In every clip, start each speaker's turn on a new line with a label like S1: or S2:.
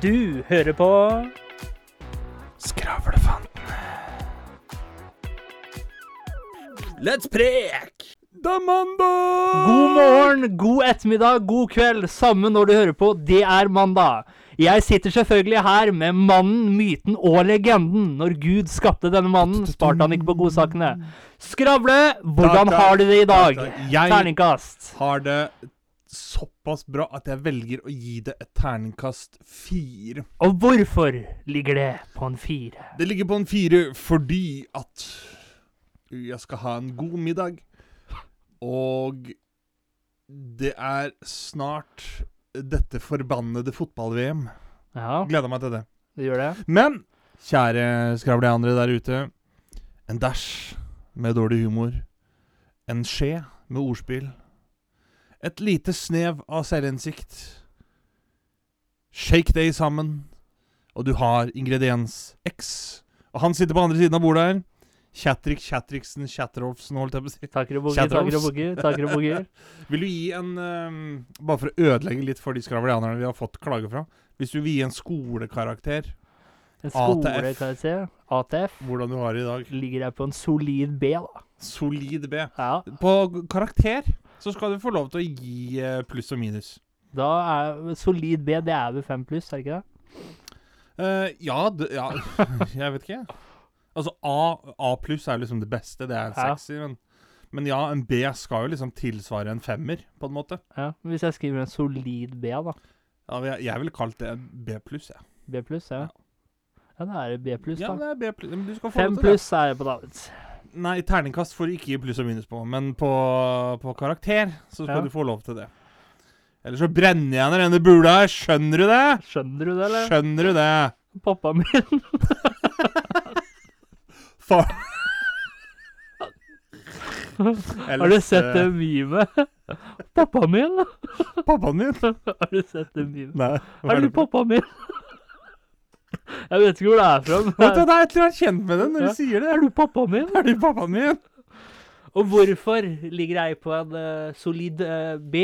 S1: Du hører på
S2: Skravlefantene.
S3: Let's prek!
S2: Det er mandag!
S1: God morgen, god ettermiddag, god kveld, samme når du hører på. Det er mandag. Jeg sitter selvfølgelig her med mannen, myten og legenden. Når Gud skapte denne mannen, sparte han ikke på godsakene. Skravle, hvordan
S2: Takk, takk.
S1: har du det i dag?
S2: Takk, takk. Jeg-
S1: Terningkast.
S2: Har det såpass bra at jeg velger å gi det et terningkast fire.
S1: Og hvorfor ligger det på en fire?
S2: Det ligger på en fire fordi at jeg skal ha en god middag, og det er snart dette forbannede fotball-VM.
S1: Ja,
S2: Gleder meg til det.
S1: det gjør det.
S2: Men kjære skravleandre der ute. En dæsj med dårlig humor. En skje med ordspill. Et lite snev av selvinnsikt. Shake day sammen, og du har ingrediens X. Og han sitter på andre siden av bordet her. Kjatrik Kjatriksen Kjatrolfsen, holdt jeg på å si.
S1: Takker og boogie,
S2: Kjære
S1: takker og
S2: Troms.
S1: boogie, takker og boogie.
S2: Vil du gi en ehm, Bare for å ødelegge litt for de skravlianerne vi har fått klage fra. Hvis du vil gi en skolekarakter,
S1: En skole,
S2: ATF.
S1: kan jeg si. ATF.
S2: hvordan du har det i dag.
S1: Ligger jeg på en solid B, da.
S2: Solid B.
S1: Ja.
S2: På g- karakter så skal du få lov til å gi eh, pluss og minus.
S1: Da er solid B, det er vel fem pluss, er det ikke det?
S2: Eh, ja, d ja Jeg vet ikke. jeg. Altså A, A pluss er liksom det beste. Det er en
S1: Ja.
S2: sekser. Men, men ja, en B skal jo liksom tilsvare en femmer, på en måte.
S1: Ja, men Hvis jeg skriver en solid B, da.
S2: Ja, men jeg, jeg ville kalt det en B pluss, jeg.
S1: B pluss, ja. Ja, da er det B pluss,
S2: Ja, men
S1: da.
S2: det er B pluss. Men du skal få
S1: Fem
S2: lov til det.
S1: pluss er jeg på David.
S2: Nei, terningkast får du ikke gi pluss og minus på, men på, på karakter så skal
S1: Ja.
S2: du få lov til det. Eller så brenner jeg ned denne bula her. Skjønner du det?
S1: Skjønner du det, eller?
S2: Skjønner du det?
S1: Pappa min.
S2: Far
S1: Har du
S2: eh,
S1: sett det memet? Pappa min!
S2: Pappaen min?
S1: Har du sett det memet?
S2: Nei. hva
S1: Er du
S2: det for-
S1: pappa min? Jeg vet ikke hvor det er fra.
S2: Vet du,
S1: men
S2: Det er et eller annet kjent med det når
S1: Ja.
S2: du sier
S1: Er
S2: det.
S1: du pappa min?
S2: Er du pappaen min?
S1: Og hvorfor ligger jeg på en eh, solid eh, B?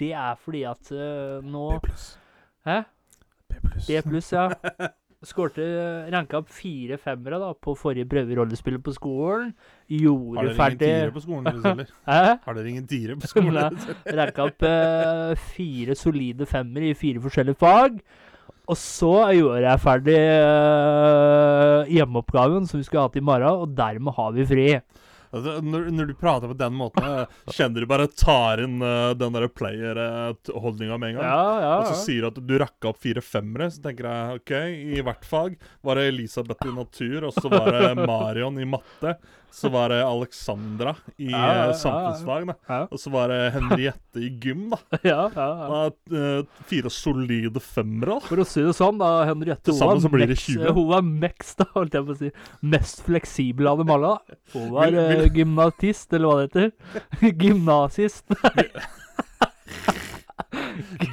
S1: Det er fordi at eh, nå
S2: pluss.
S1: Hæ?
S2: B pluss.
S1: B pluss, ja. Skårte ranka opp fire femmere da, på forrige prøve i rollespillet på skolen.
S2: Har
S1: Gjorde
S2: dere ingen
S1: ferdig
S2: tiere på skolen deres heller?
S1: Hæ?
S2: Har dere ingen tiere på skolen?
S1: Nei. Ranka opp eh, fire solide femmere i fire forskjellige fag. Og så gjorde jeg ferdig eh, hjemmeoppgaven som vi skulle hatt i morgen, og dermed har vi fri.
S2: Altså, når, når du prater på den måten, eh, kjenner du bare tar inn eh, den der player-holdninga med en
S1: Ja,
S2: gang.
S1: ja.
S2: Og så sier du at du rakka opp fire femmere, så tenker jeg OK, i hvert fag var det Elisabeth i natur, og så var det Marion i matte, så var det Alexandra i
S1: Ja, ja,
S2: eh,
S1: ja.
S2: samfunnsfag, da.
S1: Ja.
S2: Og så var det Henriette i gym, da.
S1: ja, ja, ja.
S2: da eh, fire solide femmere, da.
S1: For å si det sånn, da, Henriette
S2: Til
S1: hun
S2: sammen
S1: var
S2: så blir det
S1: meks-
S2: 20.
S1: Hun var mest, da, holdt jeg på å si. Mest fleksibel av dem alle. da. Hun var
S2: Vil- vil-
S1: eh, gymnatist, eller hva det heter. Gymnasist.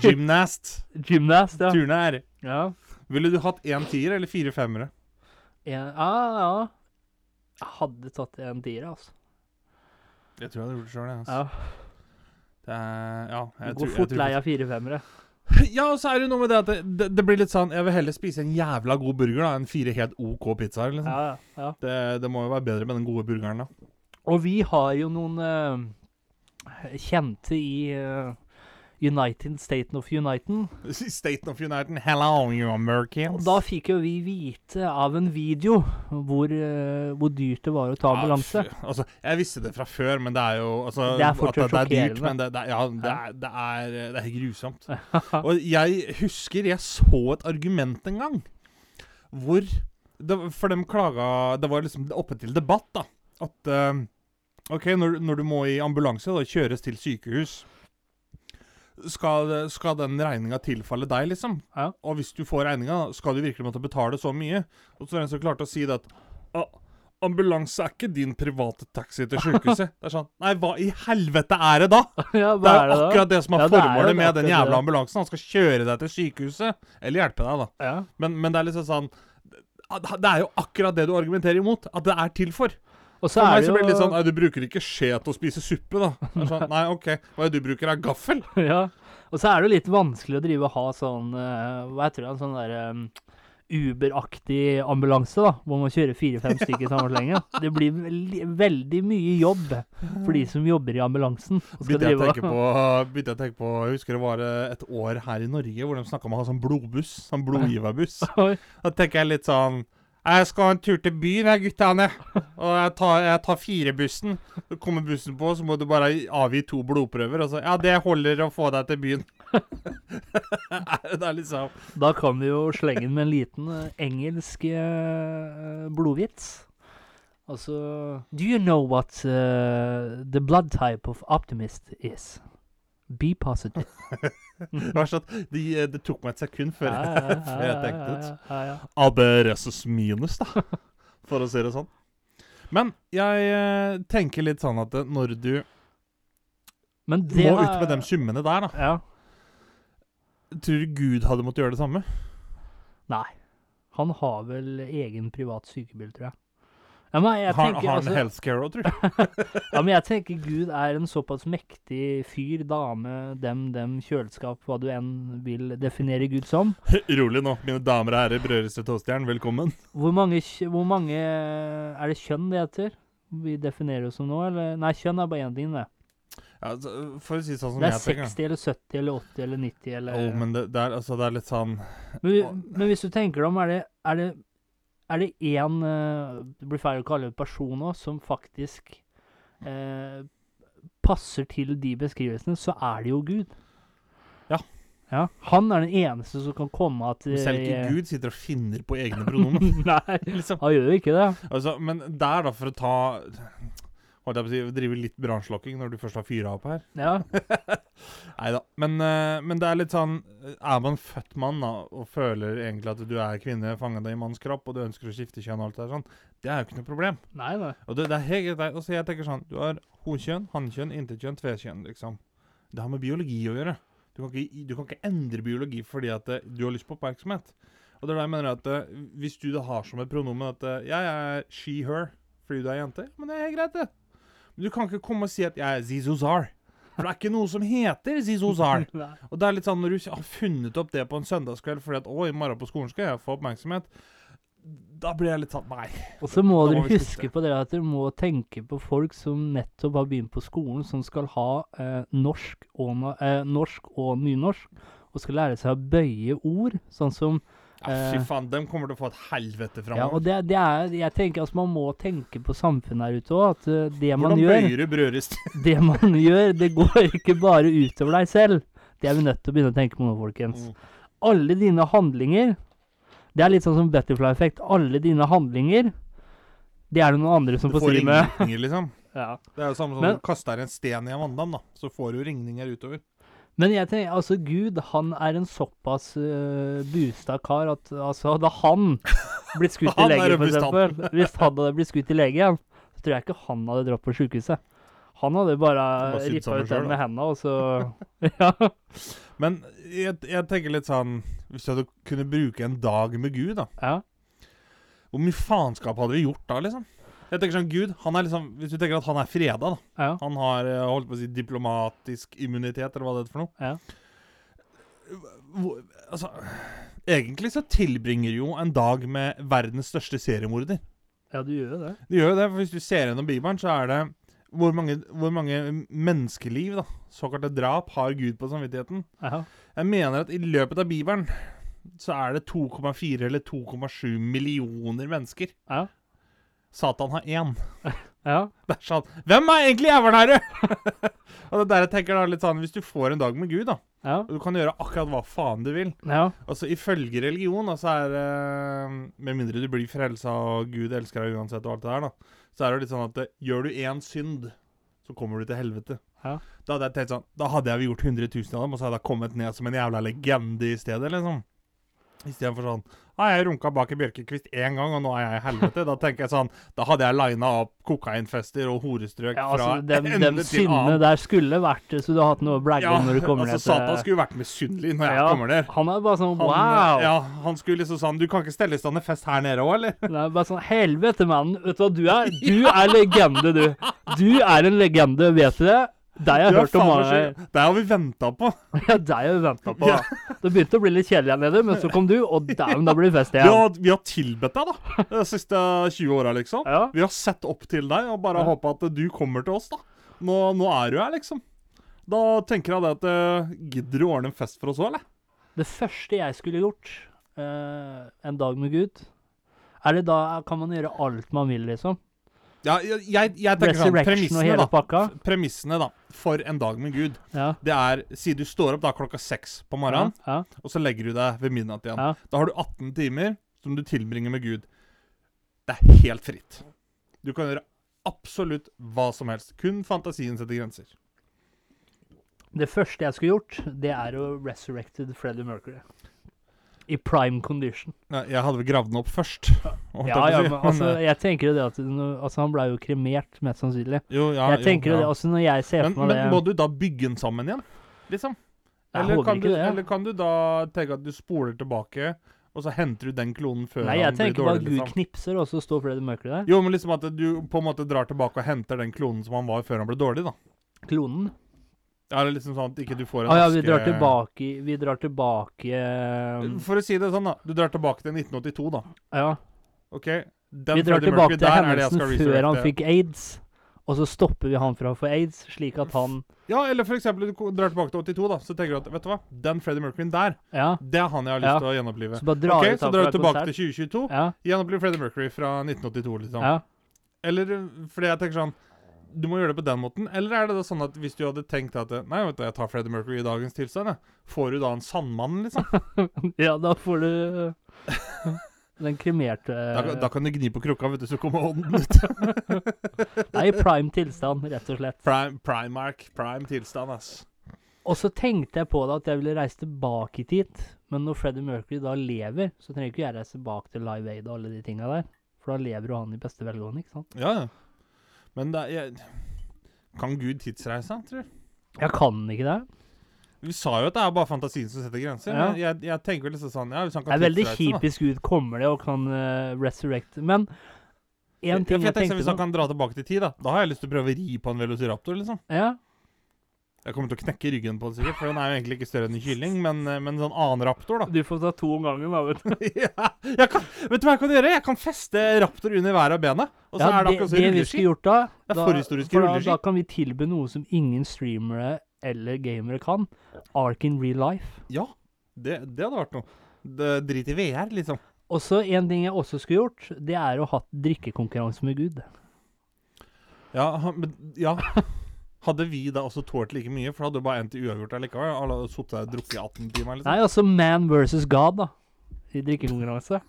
S2: Gymnast.
S1: Gymnast, ja.
S2: Turnær.
S1: Ja,
S2: Ville du hatt én tier eller fire femmere?
S1: en, ja, ja. Jeg hadde tatt en tier, altså.
S2: Jeg tror jeg hadde gjort det sjøl, jeg.
S1: Ja.
S2: Altså. Det er- Ja, jeg
S1: Jeg
S2: tror-
S1: går
S2: jeg
S1: fort
S2: tror-
S1: lei av fire femmere.
S2: Ja, og så er det noe med det at det, det, det blir litt sånn Jeg vil heller spise en jævla god burger da enn fire helt OK pizzaer, liksom.
S1: Ja, ja, ja.
S2: Det, det må jo være bedre med den gode burgeren, da.
S1: Og vi har jo noen eh, kjente i eh, United Staten of Uniten.
S2: State of United, hello, you
S1: Og
S2: Americans.
S1: da fikk jo vi vite av en video hvor, eh, hvor dyrt det var å ta ambulanse.
S2: Ja, fy- altså, jeg visste det fra før, men det er jo altså,
S1: Det er
S2: at
S1: fortsatt
S2: det er dyrt,
S1: sjokkerende.
S2: men det, det, er- ja, det,
S1: Ja.
S2: er, det, er, det er grusomt. Og jeg husker jeg så et argument en gang hvor det, For dem klaga Det var liksom oppe til debatt, da. At eh, OK, når, når du må i ambulanse og kjøres til sykehus skal, skal den regninga tilfalle deg, liksom?
S1: Ja.
S2: Og hvis du får regninga, skal du virkelig måtte betale så mye? Og så er det en som klarte å si det at «Ah, Ambulanse er ikke din private taxi til sjukehuset. Det er sånn Nei, hva i helvete er det da?!
S1: ja,
S2: Det
S1: hva
S2: er
S1: er
S2: jo
S1: det da?
S2: akkurat det som er
S1: Ja, det er jo
S2: formålet med
S1: akkurat
S2: den jævla
S1: det.
S2: ambulansen. Han skal kjøre deg til sykehuset, eller hjelpe deg, da.
S1: Ja.
S2: Men, men det er liksom sånn Det er jo akkurat det du argumenterer imot. At det er til for.
S1: Og så
S2: For
S1: er
S2: meg
S1: det jo
S2: så blir det litt sånn Nei, du bruker ikke skje til å spise suppe, da. Det er Sånn, nei, OK. Hva er det du bruker? Er gaffel?
S1: Ja. Og så er det jo litt vanskelig å drive og ha sånn eh, Hva heter det? En sånn derre Uber-aktig ambulanse, da, hvor man kjører fire-fem stykker i samme slenge. Det blir veldig, veldig mye jobb for de som jobber i ambulansen. og skal
S2: Begynte jeg, å
S1: drive og-
S2: tenke på, begynte jeg å tenke på Jeg husker det var eh, et år her i Norge hvor de snakka om å ha sånn blodbuss. Sånn blodgiverbuss.
S1: Oi.
S2: Da tenker jeg litt sånn Jeg skal ha en tur til byen, jeg, guttene. Og jeg tar, jeg tar firebussen. Så kommer bussen på, så må du bare avgi to blodprøver. Og så Ja, det holder å få deg til byen. det er liksom
S1: Da kan vi jo slenge inn med en liten eh, engelsk eh, blodvits. Altså Do you know what eh, the blood type of optimist is? Be positive.
S2: Det var sånn at de, eh, Det tok meg et sekund før,
S1: Ja, ja, ja,
S2: før jeg
S1: ja,
S2: tenkte ut.
S1: ja, ja, ja.
S2: Aberesus minus, da, for å si det sånn. Men jeg eh, tenker litt sånn at eh, når du
S1: Men
S2: må
S1: det
S2: ut
S1: er-
S2: med de summene der, da
S1: Ja.
S2: Tror du Gud hadde måttet gjøre det samme?
S1: Nei. Han har vel egen privat sykebil, tror jeg. Ja, men jeg
S2: Har,
S1: tenker,
S2: har han
S1: altså,
S2: healthcare òg, tror du?
S1: ja, men jeg tenker Gud er en såpass mektig fyr, dame, dem, dem, kjøleskap, hva du enn vil definere Gud som.
S2: Rolig nå, mine damer og herrer, brødreste toastjern, velkommen.
S1: Hvor mange, kj- hvor mange eh, Er det kjønn det heter? Vi definerer oss som nå, eller? Nei, kjønn er bare én ting, det.
S2: Ja, altså, for å si sånn som
S1: Det er
S2: jeg tenker
S1: 60 eller 70 eller 80 eller 90
S2: da.
S1: eller
S2: Jo, men det, det, er, altså, det er litt sånn
S1: Men, vi- men hvis du tenker deg om, er det, er det, er det én eh, Det blir feil å kalle det person òg, som faktisk eh, passer til de beskrivelsene, så er det jo Gud.
S2: Ja.
S1: ja. Han er den eneste som kan komme at eh,
S2: Selv ikke Gud sitter og finner på egne pronomen.
S1: Nei,
S2: liksom.
S1: han gjør jo ikke det.
S2: Altså, men der, da, for å ta Holdt jeg på å si, drive litt brannslokking når du først har fyra opp her.
S1: Ja.
S2: Nei da. Men, eh, men det er litt sånn eh, Er man født mann da, og føler egentlig at du er kvinne fanget i manns kropp, og du ønsker å skifte kjønn og alt det der sånn, det er jo ikke noe problem.
S1: Nei, nei.
S2: Og det, det er helt greit. det er- Altså, jeg tenker sånn Du har honkjønn, hannkjønn, intetkjønn, tvekjønn, liksom. Det har med biologi å gjøre. Du kan ikke, du kan ikke endre biologi fordi at eh, du har lyst på oppmerksomhet. Og det er da jeg mener at eh, hvis du da har som et pronomen at eh, jeg er she, her fordi du er jente, men det er helt greit, det. Men du kan ikke komme og si at jeg er Zizozar. For det er ikke noe som heter Zizozar.
S1: Nei.
S2: Og det er litt sånn når du har funnet opp det på en søndagskveld fordi at å, i morgen på skolen skal jeg få oppmerksomhet, da blir jeg litt sånn Nei.
S1: Og så må
S2: Da må
S1: dere
S2: vi
S1: huske
S2: slutte.
S1: på det at dere må tenke på folk som nettopp har begynt på skolen, som skal ha eh, norsk, og, na- eh, norsk og nynorsk, og skal lære seg å bøye ord, sånn som
S2: Ja,
S1: Eh,
S2: fy faen, dem kommer til å få et helvete
S1: Ja,
S2: framover.
S1: og det, det er Jeg tenker altså man må tenke på samfunnet her ute òg, at eh, det man
S2: Hvordan
S1: gjør,
S2: bøyer du brødrist?
S1: det man gjør, det går ikke bare utover deg selv. Det er vi nødt til å begynne å tenke på nå, folkens.
S2: Mm.
S1: Alle dine handlinger Det er litt sånn som butterfly-effekt. Alle dine handlinger, det er det noen andre som får
S2: Du får
S1: styre med.
S2: ringninger, liksom.
S1: Ja.
S2: Det er jo samme som
S1: Men-
S2: om du kaster en sten i en vanndam, da. Så får du ringninger utover.
S1: Men jeg tenker, altså Gud han er en såpass uh, boosta kar at altså, hadde han blitt skutt i
S2: Han er
S1: legen, for
S2: robust, han.
S1: eksempel Hvis han hadde blitt skutt i legen, så tror jeg ikke han hadde dratt på sjukehuset. Han hadde bare
S2: bare sydd
S1: rippa
S2: sammen
S1: ut den
S2: selv,
S1: med henda, og så Ja.
S2: Men jeg, jeg tenker litt sånn Hvis du hadde kunne bruke en dag med Gud, da.
S1: ja.
S2: Hvor mye faenskap hadde vi gjort da, liksom? Jeg tenker sånn, Gud, han er liksom Hvis du tenker at han er freda, da.
S1: ja.
S2: Han har eh, holdt på å si diplomatisk immunitet, eller hva det heter for noe.
S1: Ja.
S2: Hvor, altså Egentlig så tilbringer jo en dag med verdens største seriemorder.
S1: Ja, du gjør jo det.
S2: Det gjør jo det, for hvis du ser gjennom Bibelen, så er det hvor mange, hvor mange menneskeliv, da, såkalte drap, har Gud på samvittigheten?
S1: Ja.
S2: Jeg mener at i løpet av Bibelen så er det 2,4 eller 2,7 millioner mennesker.
S1: Ja.
S2: Satan har én.
S1: ja.
S2: Det er sånn Hvem er egentlig jævelen her, du? og det der jeg tenker da litt sånn Hvis du får en dag med Gud, da,
S1: Ja.
S2: og du kan gjøre akkurat hva faen du vil
S1: ja.
S2: Altså ifølge religion, altså er det Med mindre du blir frelsa og Gud elsker deg uansett og alt det der, da. Så er det jo litt sånn at eh, gjør du én synd, så kommer du til helvete.
S1: Ja.
S2: Da hadde jeg tenkt sånn Da hadde jeg vel gjort 100 000 av dem, og så hadde jeg kommet ned som en jævla legende i stedet, liksom. Istedenfor sånn Nei, jeg runka bak i bjørkekvist én gang, og nå er jeg i helvete. Da tenker jeg sånn Da hadde jeg lina opp kokainfester og horestrøk
S1: Ja,
S2: fra
S1: altså, dem,
S2: ende
S1: dem
S2: til
S1: syndene
S2: annen.
S1: der skulle vært det, så du har hatt noe å blære
S2: Ja,
S1: om når du kommer
S2: altså,
S1: ned
S2: Satan skulle vært misunnelig når jeg
S1: Ja,
S2: kommer der.
S1: Han er bare sånn
S2: Han, eh,
S1: wow!
S2: ja, han skulle liksom sånn Du kan ikke stelle i stand en fest her nede òg, eller?
S1: Det er bare sånn Helvete, mann. Vet du hva du er? Du er legende, du. Du er en legende, vet du det? Deg har jeg
S2: Du er
S1: hørt om
S2: faen meg
S1: mange
S2: skyld. Det har vi venta på.
S1: Ja, deg har vi venta på.
S2: Ja.
S1: Det begynte å bli litt kjedelig her nede, men så kom du, og dæven, da blir det fest
S2: Vi
S1: igjen.
S2: har, vi har tilbedt deg, da. De siste 20 åra, liksom.
S1: Ja.
S2: Vi har sett opp til deg og bare
S1: Ja.
S2: håpa at du kommer til oss, da. Nå, nå er du her, liksom. Da tenker jeg det at eh, Gidder du å ordne en fest for oss òg, eller?
S1: Det første jeg skulle gjort eh, en dag med Gud er det da kan man gjøre alt man vil, liksom?
S2: Ja, jeg, jeg, jeg tenker sånn
S1: Resurrection og
S2: Premissene,
S1: hele
S2: da.
S1: pakka?
S2: Premissene, da, for en dag med Gud,
S1: Ja.
S2: det er Si du står opp da klokka seks på
S1: Ja,
S2: morgenen,
S1: ja,
S2: og så legger du deg ved midnatt igjen.
S1: ja.
S2: Da har du 18 timer som du tilbringer med Gud. Det er helt fritt. Du kan gjøre absolutt hva som helst. Kun fantasien setter grenser.
S1: Det første jeg skulle gjort, det er å resurrected Freddie Mercury. I prime condition.
S2: Nei, jeg hadde vel gravd den opp først. holdt
S1: Ja, ja,
S2: jeg på å si.
S1: men altså,
S2: eh,
S1: jeg tenker jo det at nå- Altså, han blei jo kremert, mest sannsynlig.
S2: jo, ja,
S1: Jeg
S2: jo,
S1: tenker jo
S2: ja.
S1: det, altså, når jeg ser
S2: Men,
S1: for meg
S2: men må
S1: det
S2: du da bygge den sammen igjen? Liksom?
S1: Jeg
S2: Eller
S1: håper
S2: kan,
S1: ikke
S2: du,
S1: det.
S2: eller kan du da tenke at du spoler tilbake, og så henter du den klonen før
S1: Nei, jeg
S2: han blir
S1: tenker bare
S2: dårlig?
S1: Gud
S2: Liksom.
S1: knipser, og så står Freddie Mercury der.
S2: Jo, men liksom at du på en måte drar tilbake og henter den klonen som han var før han ble dårlig, da.
S1: Klonen.
S2: Ja, Eller liksom sånn at ikke du får en
S1: Å Ah, ja, vi
S2: aske-
S1: drar tilbake i- Vi drar tilbake um,
S2: For å si det sånn, da. Du drar tilbake til 1982, da.
S1: Ja.
S2: OK? Den
S1: Vi drar
S2: Freddie
S1: tilbake
S2: Mercury
S1: til
S2: der er det jeg
S1: hendelsen
S2: skal
S1: før han
S2: resurrecte.
S1: fikk aids, og så stopper vi han fra å få aids, slik at han
S2: Ja, eller for eksempel, du drar tilbake til 82, da. Så tenker du at vet du hva, den Freddie Mercury der,
S1: Ja.
S2: det er han jeg har
S1: Ja.
S2: lyst til å gjenopplive.
S1: Så bare drar
S2: Ok,
S1: ut
S2: så
S1: han
S2: drar
S1: fra
S2: du tilbake
S1: konsert.
S2: til 2022.
S1: Ja.
S2: Gjenoppliv Freddie Mercury fra 1982, liksom.
S1: ja.
S2: Eller uh, fordi jeg tenker sånn Du må gjøre det på den måten. Eller er det da sånn at hvis du hadde tenkt at Nei, vet du, jeg tar Freddie Mercury i dagens tilstand, jeg. Får du da en sandmann, liksom?
S1: Ja, da får du den kremerte
S2: Da, da kan du gni på krukka, vet du, så kommer ånden ut.
S1: Nei, i prime tilstand, rett og slett.
S2: Prime, primark, prime tilstand, ass.
S1: Og så tenkte jeg på det at jeg ville reise tilbake i tid, men når Freddie Mercury da lever, så trenger ikke jeg reise tilbake til Live Aid og alle de tinga der. For da lever jo han i beste velgående, ikke sant?
S2: Ja, ja. Men det er jeg, Kan Gud tidsreise, tror du?
S1: Jeg kan ikke det.
S2: Vi sa jo at det er bare fantasien som setter grenser.
S1: Ja.
S2: men Jeg, jeg tenker vel liksom sånn Ja, hvis han
S1: Det
S2: kan
S1: er veldig
S2: tidsreise, da.
S1: kjipisk ut kommer det og kan eh, resurrect Men
S2: Ja,
S1: én
S2: for
S1: ting jeg
S2: jeg tenker sånn, Hvis
S1: tenkte
S2: han
S1: på
S2: kan dra tilbake til tid, da Da har jeg lyst til å prøve å ri på en velociraptor, liksom.
S1: ja,
S2: Jeg kommer til å knekke ryggen på den sikkert, for den er jo egentlig ikke større enn en kylling, men, men en sånn annen raptor, da.
S1: Du får ta to om gangen, da, vet du.
S2: ja, jeg kan, vet du hva jeg kan gjøre? Jeg kan feste raptor under hver av bena, og så
S1: Ja,
S2: er det
S1: det,
S2: akkurat som
S1: det vi
S2: rulleski.
S1: skulle gjort da,
S2: Det er
S1: da
S2: forhistoriske
S1: for da,
S2: rulleski.
S1: da kan vi tilby noe som ingen streamere eller gamere kan. Ark in real life.
S2: Ja, det, det hadde vært noe. Det, drit i VR, liksom.
S1: Og så en ting jeg også skulle gjort, det er å ha hatt drikkekonkurranse med Gud.
S2: Ja, han- men ja. Hadde vi da også tålt like mye, for da hadde det bare endt i uavgjort allikevel. Alle hadde sittet der og drukket i 18 timer, liksom.
S1: Nei, altså man versus God, da. I drikkekonkurranse.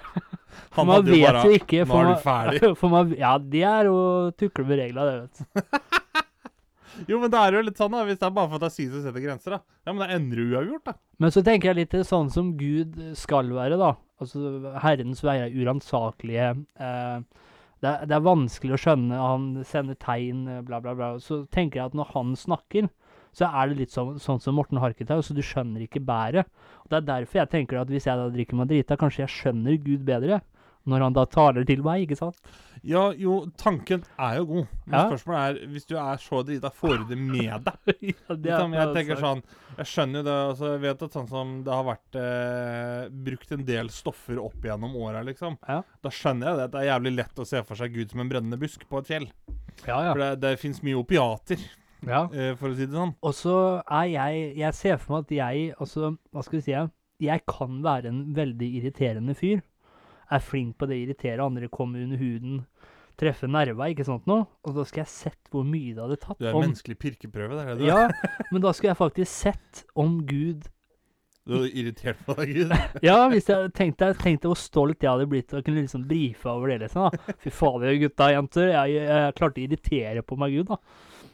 S1: For
S2: Han
S1: man
S2: hadde jo
S1: vet
S2: bare
S1: jo ikke
S2: Nå
S1: for
S2: er
S1: man,
S2: du ferdig.
S1: for man, Ja, det er å tukle med regla, det, vet du.
S2: Jo, men det er jo litt sånn, da. Hvis det er bare fantasi som setter grenser, da. Ja, men da ender du uavgjort, da.
S1: Men så tenker jeg litt til sånn som Gud skal være, da. Altså Herrens veier er uransakelige. Eh, det, er, det er vanskelig å skjønne, han sender tegn, eh, bla, bla, bla. Så tenker jeg at når han snakker, så er det litt sånn, sånn som Morten Harketau, så du skjønner ikke bæret. Og Det er derfor jeg tenker at hvis jeg da drikker Madrita, kanskje jeg skjønner Gud bedre. Når han da taler til meg, ikke sant?
S2: Ja, jo, tanken er jo god. Men
S1: Ja.
S2: spørsmålet er, hvis du er så drita, får du det med deg?
S1: ja, det
S2: Liksom, jeg
S1: altså-
S2: tenker sånn, jeg skjønner jo det. Altså, jeg vet at sånn som det har vært eh, brukt en del stoffer opp gjennom åra, liksom.
S1: Ja.
S2: Da skjønner jeg det. at Det er jævlig lett å se for seg Gud som en brennende busk på et fjell.
S1: Ja, ja.
S2: For det, det fins mye opiater,
S1: ja.
S2: eh, for å si det sånn.
S1: Og så er jeg Jeg ser for meg at jeg Altså, hva skal vi si? Jeg kan være en veldig irriterende fyr. Er flink på det å irritere andre, komme under huden, treffe nerva, ikke sant noe? Og da skal jeg sett hvor mye det hadde tatt.
S2: Du er en
S1: om,
S2: menneskelig pirkeprøve, det er det du er.
S1: ja, men da skulle jeg faktisk sett om Gud
S2: Du er irritert på deg, Gud.
S1: Ja, hvis jeg tenkte, jeg tenkte hvor stolt jeg hadde blitt av å kunne liksom brife over det, liksom. da. Fy fader, gutta og jenter. Jeg, jeg, jeg klarte å irritere på meg Gud, da.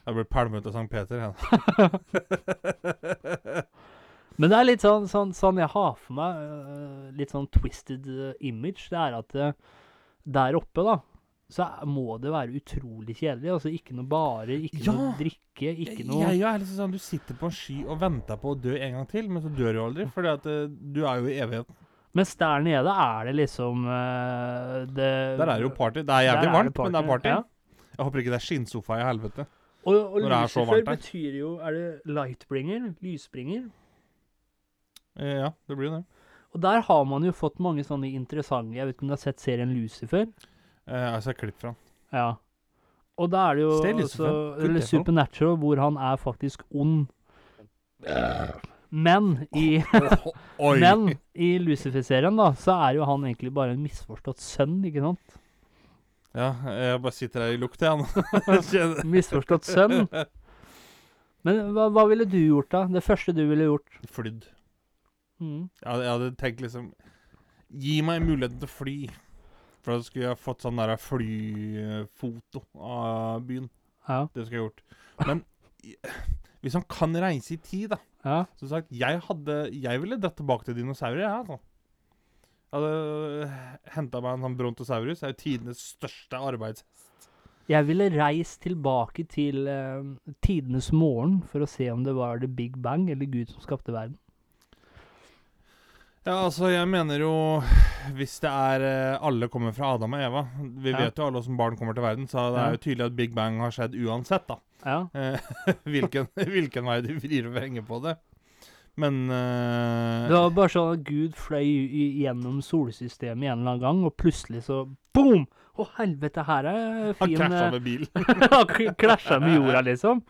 S2: Jeg ble pælmet av Sankt Peter, jeg.
S1: Men det er litt sånn, sånn, sånn jeg har for meg, øh, litt sånn twisted øh, image, det er at øh, der oppe, da, så er- må det være utrolig kjedelig. Altså ikke noe bare, ikke noe
S2: Ja.
S1: drikke, ikke
S2: Jeg-
S1: noe
S2: Jeg er liksom sånn, Du sitter på en sky og venter på å dø en gang til, men så dør du aldri. For du er jo i evigheten.
S1: Mens der nede er det liksom øh, det
S2: Der er det jo party. Det er
S1: Der
S2: jævlig
S1: er
S2: varmt,
S1: det
S2: men det er party.
S1: Ja.
S2: Jeg håper ikke det er skinnsofa i helvete.
S1: Og, og
S2: Når det er så
S1: Lucifer
S2: varmt der.
S1: betyr jo Er det lightbringer? Lysbringer?
S2: Eh, Ja, det blir jo det.
S1: Og der har man jo fått mange sånne interessante Jeg vet ikke om du har sett serien Lucifer?
S2: Eh, altså, jeg klipp fra den.
S1: Ja. Og da er det jo
S2: Se Lucifer.
S1: også, eller
S2: Kult, det for noe.
S1: Supernatural, hvor han er faktisk ond. Men i,
S2: Oi!
S1: men i Lucifer-serien, da, så er jo han egentlig bare en misforstått sønn, ikke sant?
S2: Ja, jeg bare sitter her i lukt, jeg nå. Kjenner-
S1: Misforstått sønn. Men hva, hva ville du gjort, da? Det første du ville gjort?
S2: Flydd.
S1: Mm.
S2: Jeg hadde, jeg hadde tenkt liksom Gi meg muligheten til å fly. For da skulle jeg fått sånn der flyfoto av byen.
S1: Ja.
S2: Det skulle jeg gjort. Men i- hvis han kan reise i tid, da
S1: ja.
S2: Som sagt, jeg, hadde, jeg ville dratt tilbake til dinosaurer. Jeg, altså. jeg hadde henta meg en sånn brontosaurus. Det er jo tidenes største arbeids...
S1: Jeg ville reist tilbake til eh, tidenes morgen for å se om det var The Big Bang eller Gud som skapte verden.
S2: Ja, altså, jeg mener jo Hvis det er eh, Alle kommer fra Adam og Eva. Vi
S1: Ja.
S2: vet jo alle åssen barn kommer til verden, så det er jo tydelig at Big Bang har skjedd uansett, da.
S1: Ja.
S2: Eh, hvilken, hvilken vei du vrir og vrenger på det. Men eh,
S1: Det var bare sånn at Gud fløy i- gjennom solsystemet en eller annen gang, og plutselig så boom! Å, helvete, her er
S2: Han
S1: fin
S2: krasja
S1: eh,
S2: med bil.
S1: Han k- krasja med jorda, liksom.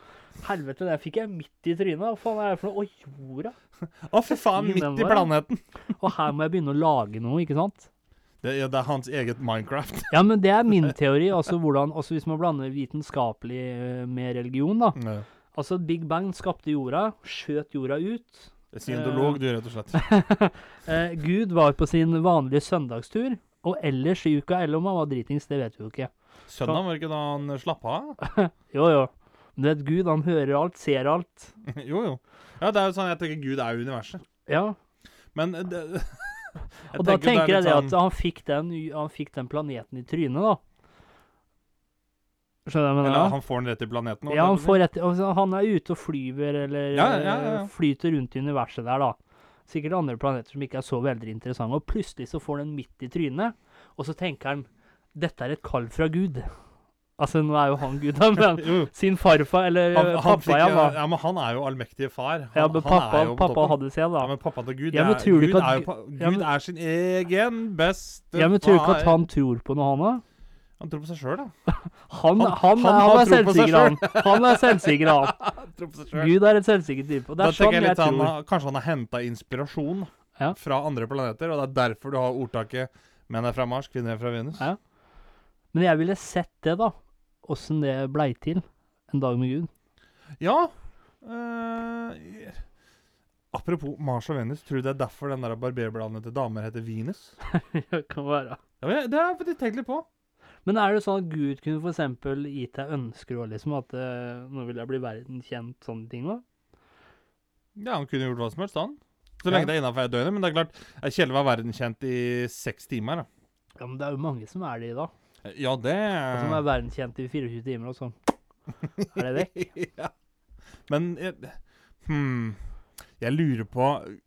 S1: Helvete, det fikk jeg midt i trynet. Hva faen er det for noe? Å, jorda!
S2: Å, fy faen!
S1: Himmelen
S2: Midt i
S1: vår, ja.
S2: planeten.
S1: Og her må jeg begynne å lage noe, ikke sant?
S2: Det, ja, det er hans eget Minecraft.
S1: Ja, men det er min teori. Altså hvordan Også hvis man blander vitenskapelig eh, med religion, da.
S2: Ja.
S1: Altså, Big Bang skapte jorda, skjøt jorda ut.
S2: Scientolog, du, rett og slett.
S1: Eh, Gud var på sin vanlige søndagstur, og ellers i uka, eller om han var dritings, det vet vi jo ikke.
S2: Søndag var det ikke da han eh, slapp av?
S1: Jo, jo. Men du vet, Gud, han hører alt, ser alt.
S2: jo, jo. Ja, det er jo sånn, jeg tenker Gud er jo universet.
S1: Ja.
S2: Men eh, det, jeg
S1: Og da tenker jeg
S2: litt sånn-
S1: det at han fikk, den, i- han fikk den planeten i trynet, da. Skjønner du hva jeg
S2: Eller
S1: mener?
S2: han får den rett i planeten.
S1: Ja, han,
S2: holdt jeg på å
S1: får rett, altså, han er ute og flyver, eller
S2: Ja, ja, ja, ja.
S1: eh, flyter rundt i universet der, da. Sikkert andre planeter som ikke er så veldig interessante. Og plutselig så får den midt i trynet, og så tenker han dette er et kall fra Gud. Altså, nå er jo han Gud, da, men
S2: si. Jo, jo.
S1: sin farfar, eller
S2: Han, han
S1: Eh, pappa,
S2: fikk,
S1: ja, da.
S2: ja, men han er jo allmektige far. Han,
S1: Ja, men
S2: han er
S1: pappa,
S2: jo på
S1: pappa
S2: toppen.
S1: hadde seg, da.
S2: ja, men pappa til Gud
S1: Ja, men
S2: det er,
S1: tror du
S2: Gud,
S1: ikke at
S2: er, jo pa-
S1: ja, men-
S2: Gud er sin egen beste
S1: Ja, men tror du ikke at
S2: far.
S1: han tror på noe, han da?
S2: Han tror på seg sjøl, da.
S1: Han,
S2: Han-
S1: han, han,
S2: han
S1: er
S2: har tro på seg
S1: selvsikker, han. Han er selvsikker, han.
S2: Han tror på seg selv.
S1: Gud er en selvsikker type. Og det
S2: Da
S1: er sånn
S2: tenker jeg
S1: jeg
S2: litt han,
S1: tror.
S2: har- Kanskje han har henta inspirasjon
S1: Ja.
S2: fra andre planeter, og det er derfor du har ordtaket 'Menn er fra Mars, kvinner er fra Venus'.
S1: Ja. Men jeg ville sett det, da. Åssen det blei til. En dag med Gud.
S2: Ja. eh, apropos Mars og Venus, tror du det er derfor den der barberbladene til damer heter Venus?
S1: det kan være.
S2: Ja, men jeg- det har jeg faktisk tenkt litt på.
S1: Men er det sånn at Gud kunne for eksempel gitt deg ønsker og liksom at eh, nå vil jeg bli verdenskjent, sånne ting da?
S2: Ja, Han kunne gjort hva som helst, han. Så lenge
S1: Ja.
S2: det er innafor døgnet. Men det er klart, eh, Kjell var verdenskjent i seks timer. da.
S1: Ja, men det er jo mange som er det i dag.
S2: Ja, det
S1: Og som er verdenskjent i 24 timer og sånn. Er det vekk?
S2: ja. Men jeg, hmm, jeg lurer på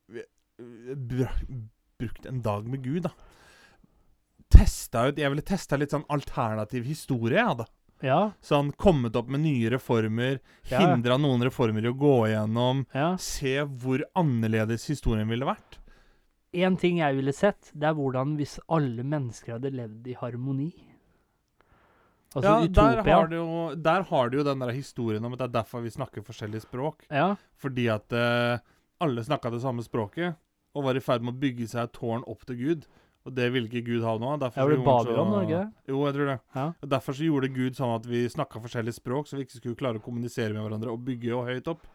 S2: br- Brukt en dag med Gud, da. Testa ut, jeg ville testa litt sånn alternativ historie, jeg, da.
S1: Ja,
S2: Sånn kommet opp med nye reformer,
S1: Ja.
S2: hindra noen reformer i å gå igjennom.
S1: ja.
S2: Se hvor annerledes historien ville vært.
S1: En ting jeg ville sett, det er hvordan hvis alle mennesker hadde levd i harmoni. Altså
S2: ja,
S1: utopia.
S2: Der har, du jo, der har du jo den der historien om at det er derfor vi snakker forskjellige språk.
S1: Ja,
S2: Fordi at eh, alle snakka det samme språket, og var i ferd med å bygge seg et tårn opp til Gud. Og det ville ikke Gud ha nå. Derfor
S1: Ja, var det
S2: så gjorde han
S1: Babylon,
S2: så-
S1: var det ikke det?
S2: Jo, jeg tror det.
S1: Ja.
S2: Og Derfor så gjorde Gud sånn at vi snakka forskjellige språk, så vi ikke skulle klare å kommunisere med hverandre og bygge jo høyt opp.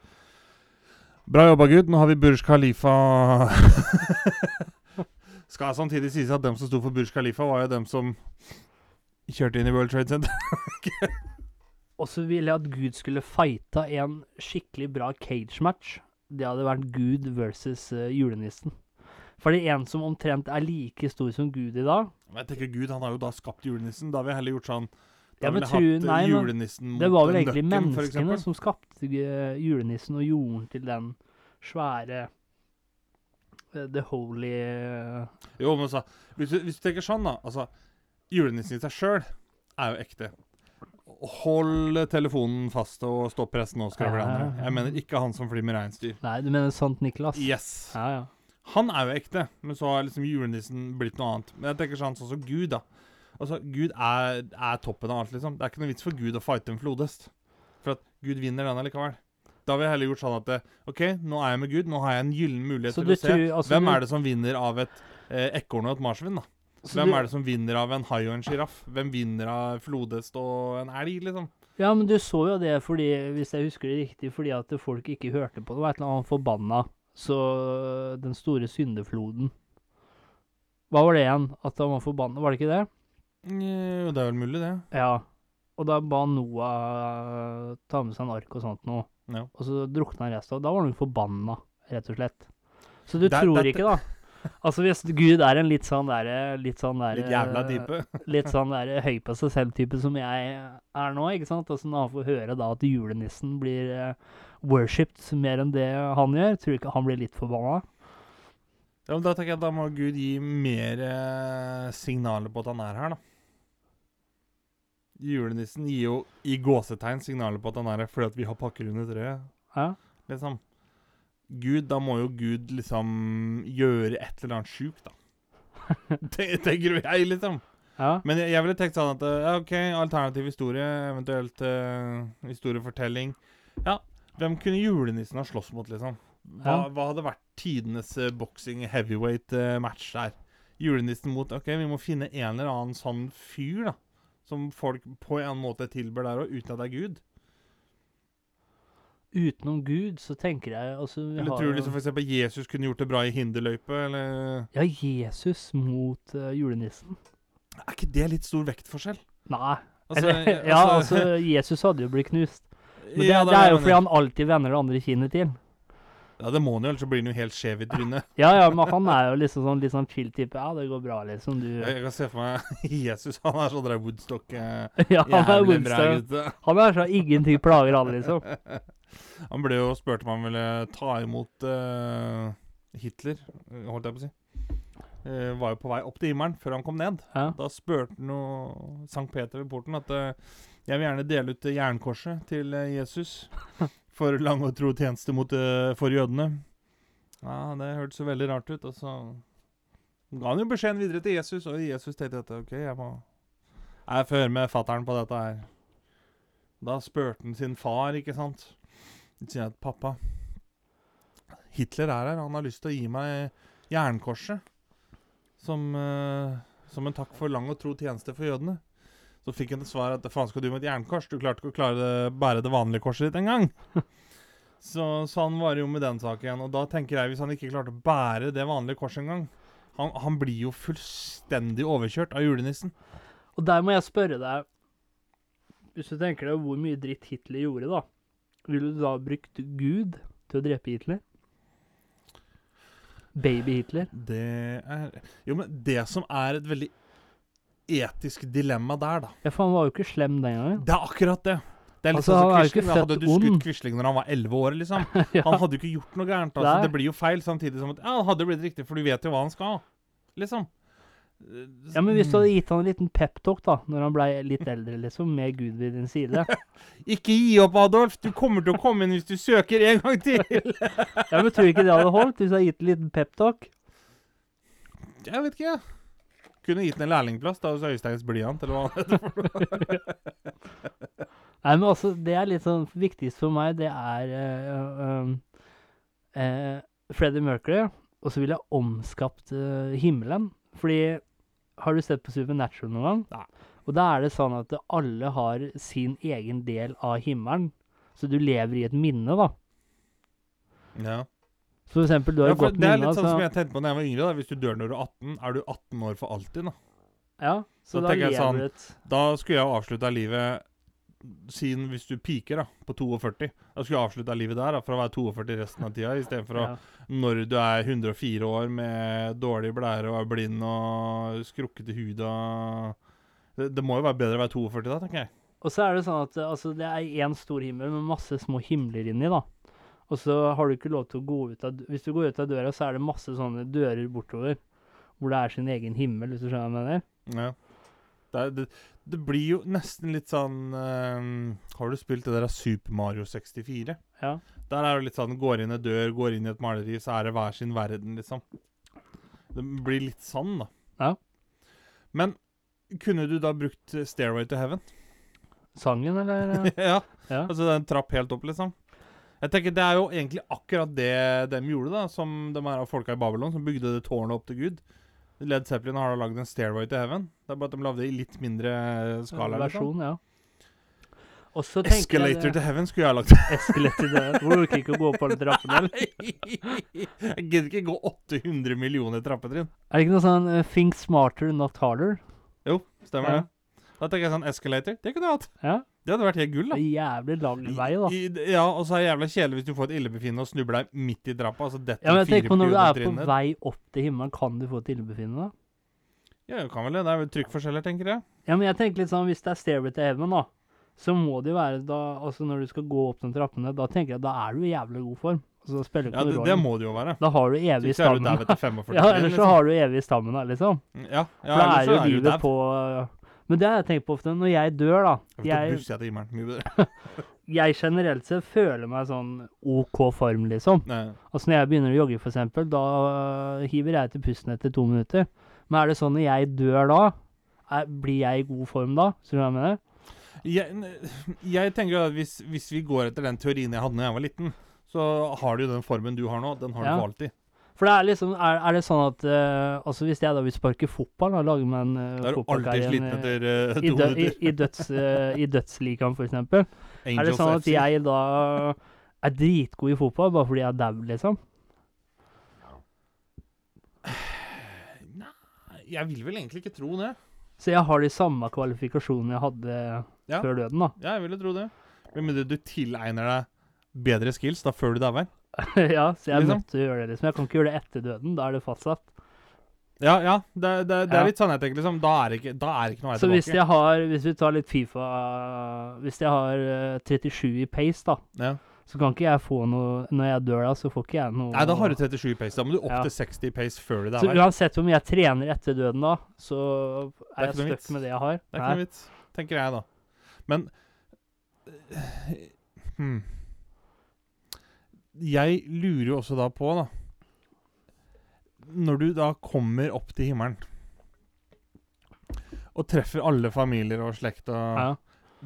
S2: Bra jobba, Gud. Nå har vi Burj Khalifa Skal samtidig sies at dem som sto for Burj Khalifa, var jo dem som kjørte inn i World Trade Center.
S1: Og så ville jeg at Gud skulle fighta en skikkelig bra cage match det hadde vært Gud versus eh, julenissen. Fordi en som omtrent er like stor som Gud i dag
S2: Men jeg tenker Gud, han har jo da skapt julenissen. Da har vi heller gjort sånn Da
S1: Ja,
S2: ville
S1: men
S2: jeg
S1: tru-
S2: hatt eh,
S1: nei, men
S2: julenissen mot
S1: Det var vel
S2: en
S1: egentlig
S2: nøkken, for
S1: menneskene
S2: eksempel.
S1: som skapte eh, julenissen og jorden til den svære eh, The Holy eh,
S2: Jo, men så, hvis, du, hvis du tenker sånn, da Altså, julenissen i seg sjøl er jo ekte. Hold telefonen fast og stopp pressen nå, skravler de andre. Jeg mener ikke han som flyr med reinsdyr.
S1: Nei, du mener Sant Niklas?
S2: Yes.
S1: Ja, ja.
S2: Han er jo ekte, men så har liksom julenissen blitt noe annet. Men jeg tenker sånn sånn som Gud, da. Altså, Gud er, er toppen av alt, liksom. Det er ikke noe vits for Gud å fighte en flodhest. For at Gud vinner den allikevel. Da vil jeg heller gjort sånn at eh, OK, nå er jeg med Gud. Nå har jeg en gyllen mulighet
S1: Så
S2: til
S1: du
S2: å se.
S1: tror altså,
S2: Hvem er det som vinner av et eh, ekorn og et marsvin, da? Hvem er det som vinner av en hai og en sjiraff? Hvem vinner av flodhest og en elg, liksom?
S1: Ja, men du så jo det fordi, hvis jeg husker det riktig, fordi at folk ikke hørte på det. Det var et eller annet forbanna. Så øh, den store syndefloden Hva var det igjen? At han var forbanna, var det ikke det?
S2: Jo, det er vel mulig, det.
S1: Ja. Og da ba Noah øh, ta med seg en ark og sånt noe.
S2: Ja.
S1: Og så drukna resten. Og da var han jo forbanna, rett og slett. Så du
S2: Det er-
S1: tror
S2: det er-
S1: ikke, da. Altså hvis Gud er en litt sånn derre Litt sånn derre
S2: Litt jævla dype.
S1: litt sånn der høy på seg selv-type som jeg er nå, ikke sant? Og så når han får høre da at julenissen blir uh, worshipped mer enn det han gjør, tror du ikke han blir litt forbanna?
S2: Ja, men da tenker jeg at da må Gud gi mer eh, signaler på at han er her, da. Julenissen gir jo i gåsetegn signaler på at han er her fordi at vi har pakker under treet,
S1: Ja?
S2: liksom. Gud, da må jo Gud liksom gjøre et eller annet sjukt, da. Det tenker jo jeg, liksom.
S1: ja?
S2: Men jeg, jeg ville tenkt sånn at eh, ja, OK, alternativ historie, eventuelt eh, historiefortelling. Ja, hvem kunne julenissen ha slåss mot, liksom? Hva,
S1: Ja.
S2: hva hadde vært tidenes eh, boxing heavyweight eh, match der? Julenissen mot OK, vi må finne en eller annen sånn fyr, da. Som folk på en måte tilber der òg, uten at det er Gud.
S1: Utenom Gud, så tenker jeg altså, vi
S2: Eller
S1: har
S2: tror du
S1: jo-
S2: liksom for eksempel Jesus kunne gjort det bra i hinderløype, eller
S1: Ja, Jesus mot eh, julenissen.
S2: Er ikke det litt stor vektforskjell?
S1: Nei.
S2: Altså,
S1: Eller,
S2: jeg-
S1: ja, altså, Jesus hadde jo blitt knust. Men det,
S2: Ja,
S1: det er jo
S2: jeg
S1: fordi
S2: mener.
S1: han alltid vender det andre kinnet til.
S2: Ja, det må han jo, ellers så blir han jo helt skjev i trynet.
S1: Ja, ja, men han er jo liksom sånn litt sånn chill type. Ja, det går bra, liksom. Du
S2: Jeg, jeg kan se for meg Jesus. Han er sånn der Woodstock eh,
S1: Ja, han er
S2: jævlig bra
S1: Winston.
S2: gutte.
S1: Han er så ingenting plager han, liksom.
S2: Han ble jo spurt om han ville ta imot eh, Hitler, eh, holdt jeg på å si. Eh, var jo på vei opp til himmelen før han kom ned.
S1: Ja.
S2: Da spurte han jo Sankt Peter ved porten at eh, jeg vil gjerne dele ut eh, jernkorset til eh, Jesus for lang og tro tjeneste mot, eh, for jødene. Ja, det hørtes jo veldig rart ut, og så ga han jo beskjeden videre til Jesus, og Jesus tenkte at OK, jeg må Jeg får høre med fattern på dette her. Da spurte han sin far, ikke sant. Så sier jeg at pappa, Hitler er her, han har lyst til å gi meg jernkorset som, eh, som en takk for lang og tro tjeneste for jødene. Så fikk han til svar at faen skal du med et jernkors, du klarte ikke å klare det, bære det vanlige korset ditt engang. Så, så han var jo med den saken igjen, og da tenker jeg hvis han ikke klarte å bære det vanlige korset engang, han, han blir jo fullstendig overkjørt av julenissen.
S1: Og der må jeg spørre deg, hvis du tenker deg hvor mye dritt Hitler gjorde, da, ville du da brukt Gud til å drepe Hitler? Baby Hitler?
S2: Det er Jo, men det som er et veldig etisk dilemma der, da
S1: Ja, for han var jo ikke slem den gangen.
S2: Det er akkurat det. Det er litt
S1: Altså,
S2: sånn som
S1: han er jo ikke
S2: Quisling. da Hadde
S1: født
S2: du skutt
S1: ond.
S2: Quisling når han var 11 år, liksom?
S1: ja.
S2: Han hadde jo ikke gjort noe gærent. Altså.
S1: Nei.
S2: Det blir jo feil, samtidig som at Ja, han hadde blitt riktig, for du vet jo hva han skal, liksom.
S1: ja, men hvis du hadde gitt han en liten peptalk, da, når han blei litt eldre, liksom, med Gud ved din side
S2: Ikke gi opp, Adolf! Du kommer til å komme inn hvis du søker en gang til!
S1: Ja, men tror du ikke det hadde holdt, hvis du hadde gitt en liten peptalk?
S2: Jeg vet ikke, jeg. Kunne gitt den en lærlingplass da hos Øysteins Blyant, eller hva? det heter.
S1: Nei, men altså, det er litt sånn viktigst for meg, det er eh, eh, eh, Freddie Mercury, og så vil jeg omskapt eh, himmelen. Fordi, har du sett på Supernatural noen gang?
S2: Nei.
S1: Og da er det sånn at alle har sin egen del av himmelen, så du lever i et minne, da.
S2: Ja.
S1: Så for eksempel, du
S2: Ja,
S1: har et
S2: for
S1: godt
S2: det er
S1: minne,
S2: litt sånn som
S1: altså.
S2: jeg tenkte på da jeg var yngre. da Hvis du dør når du er 18, er du 18 år for alltid, da?
S1: Ja, så
S2: Da
S1: da
S2: tenker
S1: lever
S2: jeg sånn,
S1: du et
S2: Da skulle jeg jo avslutta livet siden hvis du piker da, på 42 Da skulle jeg avslutta livet der, da, for å være 42 resten av tida, istedenfor å
S1: Ja.
S2: Når du er 104 år med dårlig blære og er blind og skrukket i huda det, det må jo være bedre å være 42 da, tenker jeg.
S1: Og så er det sånn at eh, altså, det er én stor himmel med masse små himler inni, da. Og så har du ikke lov til å gå ut av d- Hvis du går ut av døra, så er det masse sånne dører bortover hvor det er sin egen himmel, hvis du skjønner hva jeg mener.
S2: Ja. Det, er, det, det blir jo nesten litt sånn eh, Har du spilt det der Super Mario 64?
S1: Ja.
S2: Der er det litt sånn Går inn en dør, går inn i et maleri, så er det hver sin verden, liksom. Det blir litt sånn, da.
S1: Ja.
S2: Men kunne du da brukt Stairway to Heaven?
S1: Sangen, eller? eh?
S2: ja.
S1: Ja.
S2: Altså den trapp helt opp, liksom. Jeg tenker Det er jo egentlig akkurat det de gjorde, da, som de her folka i Babylon, som bygde det tårnet opp til Gud. Led Zeppelin har da lagd en Stairway to Heaven. Det er bare at de lagde det i litt mindre skala. Liksom.
S1: Versjon, ja. Og så tenker jeg
S2: Escalator
S1: det-
S2: to Heaven skulle jeg ha lagd.
S1: Escalator to Heaven. Hvor du orker ikke å gå opp alle trappene, eller?
S2: jeg gidder ikke gå 800 millioner trappetrinn.
S1: Er det ikke noe sånn eh, 'think smarter, not harder'?
S2: Jo, stemmer
S1: Ja.
S2: det. Da tenker jeg sånn Escalator, det kunne jeg hatt.
S1: Ja.
S2: Det hadde vært helt gull,
S1: Det
S2: da.
S1: er jævlig lang vei, da.
S2: I, i- ja, og så er det jævla kjedelig hvis du får et illebefinnende og snubler deg midt i trappa. Altså
S1: Ja, men
S2: detter
S1: jeg tenker på Når du er på
S2: trinnet.
S1: vei opp til himmelen, kan du få et illebefinnende?
S2: Ja, du kan vel det. Det er vel trykkforskjeller, tenker jeg.
S1: Ja, men jeg tenker litt sånn, hvis det er stairway to heaven, da, så må det jo være da, altså når du skal gå opp den trappene, da tenker jeg da er du i jævlig god form. Altså, da spiller du
S2: Ja,
S1: ikke
S2: det,
S1: noe
S2: det
S1: rolle.
S2: må det jo være.
S1: Da har du evig
S2: Så
S1: i
S2: ikke er du dau
S1: stammen.
S2: etter 45.
S1: Ja, ellers så har du evig i stammen, da, liksom.
S2: Ja, liksom. ja
S1: For da
S2: ellers
S1: er
S2: så
S1: jo
S2: er du
S1: livet
S2: dau.
S1: på Men det har jeg tenkt på ofte. Når jeg dør, da
S2: Jeg
S1: Jeg,
S2: vet ikke, til himmelen. Mye bedre.
S1: jeg generelt sett føler meg sånn OK form, liksom.
S2: Nei.
S1: Altså når jeg begynner å jogge, for eksempel, da øh, hiver jeg til pusten etter to minutter. Men er det sånn når jeg dør da, er, blir jeg i god form da? Skjønner du hva jeg mener?
S2: Jeg, n- jeg tenker jo at hvis, hvis vi går etter den teorien jeg hadde da jeg var liten, så har du jo den formen du har nå. Den har
S1: Ja.
S2: du for alltid.
S1: For det er liksom, er, er det sånn at øh, altså hvis jeg da vil sparke fotball, da lager man uh,
S2: Da er du alltid sliten etter eh,
S1: i,
S2: to
S1: dø i,
S2: minutter.
S1: i, døds, øh, i dødsligaen, for eksempel. Er det
S2: Angels
S1: sånn at
S2: FC.
S1: jeg da er dritgod i fotball bare fordi jeg er dau, liksom?
S2: Jeg vil vel egentlig ikke tro det.
S1: Så jeg har de samme kvalifikasjonene jeg hadde
S2: Ja.
S1: før døden, da.
S2: Ja, jeg vil jo tro det. Men med det du tilegner deg bedre skills da før du dauer.
S1: ja, så jeg er
S2: Liksom.
S1: nødt til å gjøre det, liksom. Jeg kan ikke gjøre det etter døden, da er det fastsatt.
S2: Ja, ja. Det, det, det
S1: Ja.
S2: er litt sånn jeg tenker, liksom. Da er det ikke, da er det ikke noe vei
S1: Så hvis
S2: tilbake.
S1: jeg har Hvis vi tar litt Fifa Hvis jeg har eh, 37 i pace, da,
S2: ja.
S1: så kan ikke jeg få noe Når jeg dør da, så får ikke jeg noe
S2: Nei, da har du 37 i pace. Da må du opp
S1: Ja.
S2: til 60 i pace før du
S1: Så
S2: dauer.
S1: uansett om jeg trener etter døden da, så er
S2: Det er ikke noe
S1: jeg
S2: vits.
S1: stuck med det jeg har.
S2: Det
S1: Nei.
S2: er ikke noe vits, tenker jeg, da. Men eh, hmm. Jeg lurer jo også da på, da Når du da kommer opp til himmelen og treffer alle familier og slekt og
S1: Ja.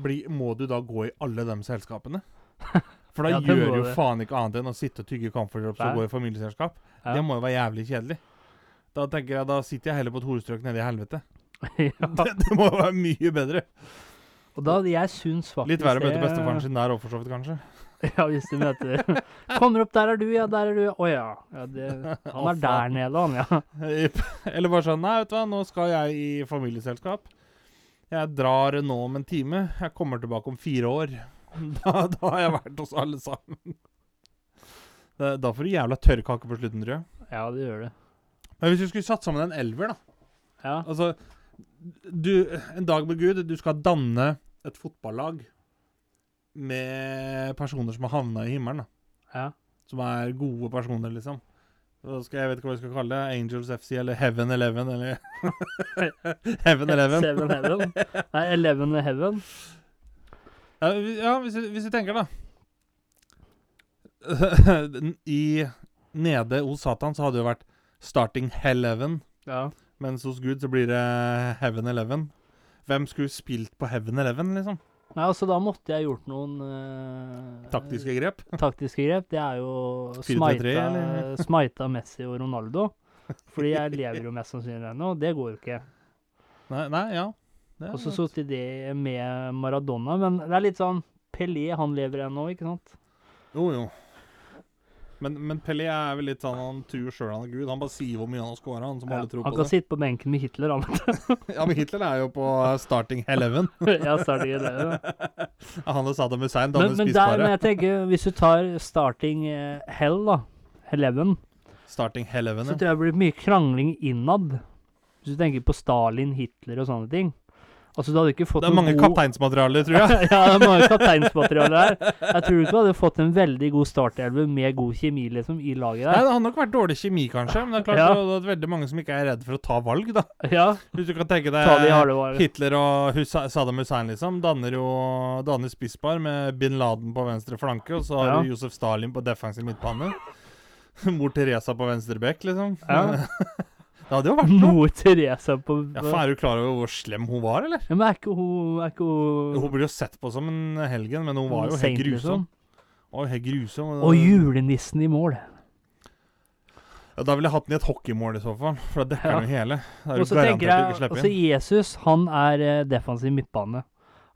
S2: bli, Må du da gå i alle de selskapene? For da
S1: Ja, det må
S2: gjør jo
S1: du.
S2: faen ikke annet enn å sitte og tygge kamferdrops
S1: Nei.
S2: og gå i familieselskap.
S1: Ja.
S2: Det må jo være jævlig kjedelig. Da tenker jeg, da sitter jeg heller på et horestrøk nede i helvete.
S1: ja.
S2: Det, det må jo være mye bedre.
S1: Og da jeg syns faktisk
S2: Litt verre å møte
S1: det-
S2: bestefaren sin der òg, for så vidt, kanskje.
S1: Ja, hvis du møter Kommer opp, der er du, ja, der er du. Å ja. ja det, han
S2: Å,
S1: er der
S2: faen.
S1: nede, han, ja.
S2: Eller bare sånn Nei, vet du hva, nå skal jeg i familieselskap. Jeg drar nå om en time. Jeg kommer tilbake om fire år. Da, da har jeg vært hos alle sammen. Da da får du jævla tørrkake på slutten, tror jeg.
S1: Ja, det gjør det.
S2: Men hvis du skulle satt sammen en elver, da
S1: Ja.
S2: Altså, du, en dag med Gud, du skal danne et fotballag med personer som har havna i himmelen, da.
S1: ja.
S2: Som er gode personer, liksom. Da skal jeg vet ikke hva vi skal kalle det. Angels FC eller Heaven Eleven eller Heaven Eleven.
S1: Seven Heaven. Nei, Eleven Heaven.
S2: Ja, vi- ja hvis, vi, hvis vi tenker, da I Nede hos Satan så hadde det jo vært Starting Hell Eleven.
S1: Ja.
S2: Mens hos Gud så blir det Heaven Eleven. Hvem skulle spilt på Heaven Eleven, liksom?
S1: Nei, altså da måtte jeg gjort noen eh,
S2: Taktiske grep.
S1: taktiske grep. Det er jo
S2: 4-3-3,
S1: smita,
S2: eller?
S1: smita Messi og Ronaldo. Fordi jeg lever jo mest sannsynlig ennå, og det går jo ikke.
S2: Nei, nei ja. Det,
S1: Og så satt det med Maradona, men det er litt sånn Pelé, han lever ennå, ikke sant?
S2: jo, jo. Men, men Pelé er vel litt sånn Han tror sjøl han er gud. Han bare sier hvor mye han har scora, han som
S1: Ja,
S2: alle tror
S1: han
S2: på
S1: kan
S2: det.
S1: sitte på benken med Hitler, han.
S2: Ja, men Hitler er jo på eh, starting eleven.
S1: ja, starting eleven.
S2: Han og Saddam Hussein
S1: Men,
S2: danner
S1: men der, men
S2: spisbare.
S1: jeg tenker, hvis du tar starting eh, hell, da, eleven,
S2: Starting eleven,
S1: så
S2: ja.
S1: tror jeg det blir mye krangling innad. Hvis du tenker på Stalin, Hitler og sånne ting. Altså, du hadde ikke fått
S2: Det er mange
S1: noen god...
S2: kapteinsmaterialer, tror jeg.
S1: ja, det er mange kapteinsmateriale her. Jeg tror ikke du hadde fått en veldig god startelver med god kjemi liksom, i laget
S2: Nei,
S1: der.
S2: Det har nok vært dårlig kjemi, kanskje, men det er klart
S1: Ja.
S2: det er veldig mange som ikke er redd for å ta valg, da. Eh,
S1: Ja,
S2: Hvis du kan tenke
S1: ta de
S2: deg
S1: harde varene.
S2: Hitler og Husa Saddam Hussein, liksom, danner jo danner spisspar med bin Laden på venstre flanke, og så har
S1: Ja.
S2: du Josef Stalin på defensiv midtbane. Mor Teresa på venstre bekk, liksom.
S1: Ja.
S2: det hadde jo vært noe.
S1: Mor Teresa på
S2: Ja, faen, Er du klar over hvor slem hun var, eller?
S1: Ja, men er ikke hun Er ikke hun
S2: Hun ble jo sett på som en helgen, men hun var jo helt
S1: saint,
S2: grusom.
S1: liksom?
S2: Hun var jo helt grusom.
S1: Og julenissen i mål.
S2: Ja, da ville jeg hatt den i et hockeymål i så fall, for da dekker
S1: Ja.
S2: den jo hele. Da er
S1: Og
S2: du
S1: så tenker
S2: garantert å ikke
S1: jeg
S2: slipper
S1: altså
S2: inn.
S1: Jesus han er eh, defensiv midtbane.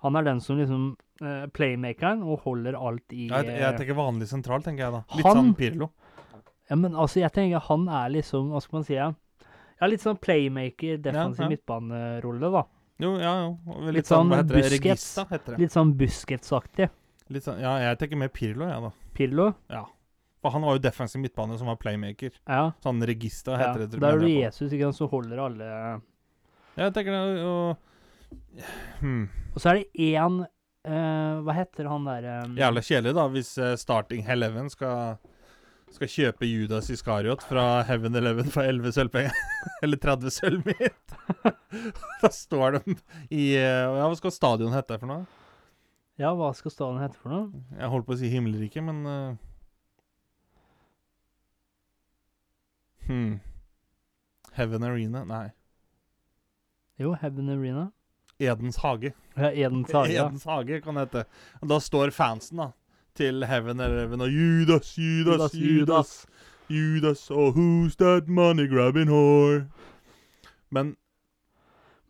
S1: Han er den som liksom eh, playmakeren og holder alt i
S2: Ja, jeg,
S1: eh,
S2: jeg tenker vanlig sentral, tenker jeg da. Litt
S1: Han-
S2: sånn Pirlo.
S1: Ja, men altså, jeg tenker han er liksom Hva skal man si? Ja, ja litt sånn playmaker, defensiv
S2: ja.
S1: midtbanerolle, da.
S2: Jo, ja, jo. Og Litt,
S1: Litt
S2: sånn, hva
S1: sånn
S2: heter det?
S1: Busquets.
S2: Regista, heter det.
S1: Litt sånn Busquets-aktig.
S2: Litt sånn, ja, jeg tenker mer Pirlo, jeg, da.
S1: Pirlo.
S2: For han var jo defensiv midtbane som var playmaker.
S1: Ja.
S2: Sånn Regista
S1: ja.
S2: heter det.
S1: Da er
S2: mener
S1: du
S2: jeg på.
S1: Jesus, ikke sant, som holder alle
S2: Ja, jeg tenker det, og... Hmm.
S1: Og så er det én eh, Hva heter han eh, derre
S2: Jævla kjedelig, da, hvis eh, starting Helleven skal skal kjøpe Judas Iskariot fra Heaven Eleven for 11 sølvpenger. Eller 30 sølv mitt. da står de i eh, Ja, hva skal stadion hete for noe?
S1: Ja, hva skal staden hete for noe?
S2: Jeg holdt på å si himmelriket, men eh, hmm. Heaven Arena? Nei.
S1: Jo, Heaven Arena.
S2: Edens hage.
S1: Ja, Eden Tage. ja.
S2: Edens hage kan det hete. Og da står fansen da til Heaven Eleven og Judas, Judas,
S1: Judas,
S2: Judas, Judas, og who's that money grabbing whore? Men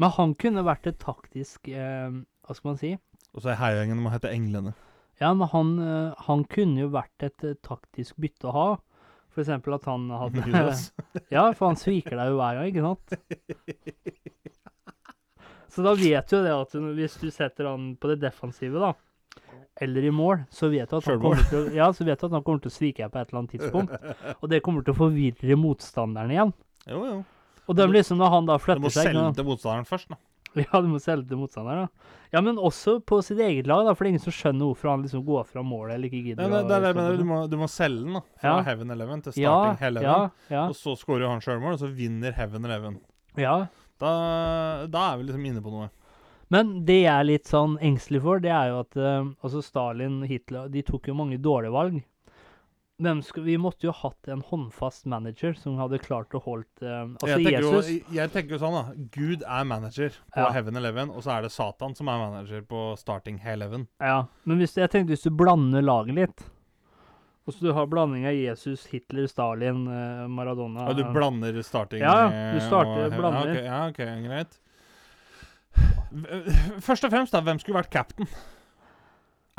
S1: Men han kunne vært et taktisk eh, Hva skal man si?
S2: Og så er heiagjengen må hete Englene.
S1: Ja, men han, eh, han kunne jo vært et eh, taktisk bytte å ha. For eksempel at han hadde
S2: Judas.
S1: Ja, for han sviker deg jo hver gang, ikke sant? Så da vet du jo det at du- hvis du setter han på det defensive, da, eller i mål, så vet du at han,
S2: Selvmål.
S1: kommer til, å- ja, så vet du at han kommer til å svike deg på et eller annet tidspunkt. Og det kommer til å forvirre motstanderen igjen.
S2: Jo, jo.
S1: Og de liksom, når han da
S2: Du må
S1: flytter seg ikke
S2: selge
S1: sant?
S2: til motstanderen først, da.
S1: Ja, du må selge til motstanderen, ja. Ja, men også på sitt eget lag, da, for det er ingen som skjønner hvorfor han liksom går fra målet eller ikke
S2: Nei,
S1: gidder
S2: det, det, er det, jeg
S1: stå
S2: mener,
S1: på
S2: du, må, du må selge den, da. Fra
S1: Ja.
S2: Heaven Eleven til
S1: ja,
S2: starting Hell
S1: ja,
S2: Eleven.
S1: ja,
S2: Og så scorer han sjølmål, og så vinner Heaven Eleven.
S1: ja.
S2: Da, da er vi liksom inne på noe.
S1: Men det jeg er litt sånn engstelig for, det er jo at eh, altså Stalin, Hitler, de tok jo mange dårlige valg. Hvem skulle, vi måtte jo hatt en håndfast manager som hadde klart å holdt eh, Altså
S2: jeg, tenker
S1: Jesus.
S2: jo, jeg tenker jo sånn, da. Gud er manager på
S1: Ja.
S2: Heaven Eleven, og så er det Satan som er manager på starting Eleven.
S1: Ja. Men hvis, jeg tenkte hvis du blander laget litt og så du har blanding av Jesus, Hitler, Stalin, eh, Maradona
S2: Og du blander starting
S1: Ja,
S2: eh,
S1: du starter-
S2: og-
S1: blander.
S2: Ja, ok, ja, ok, greit. V- Først og fremst, da, hvem skulle vært captain?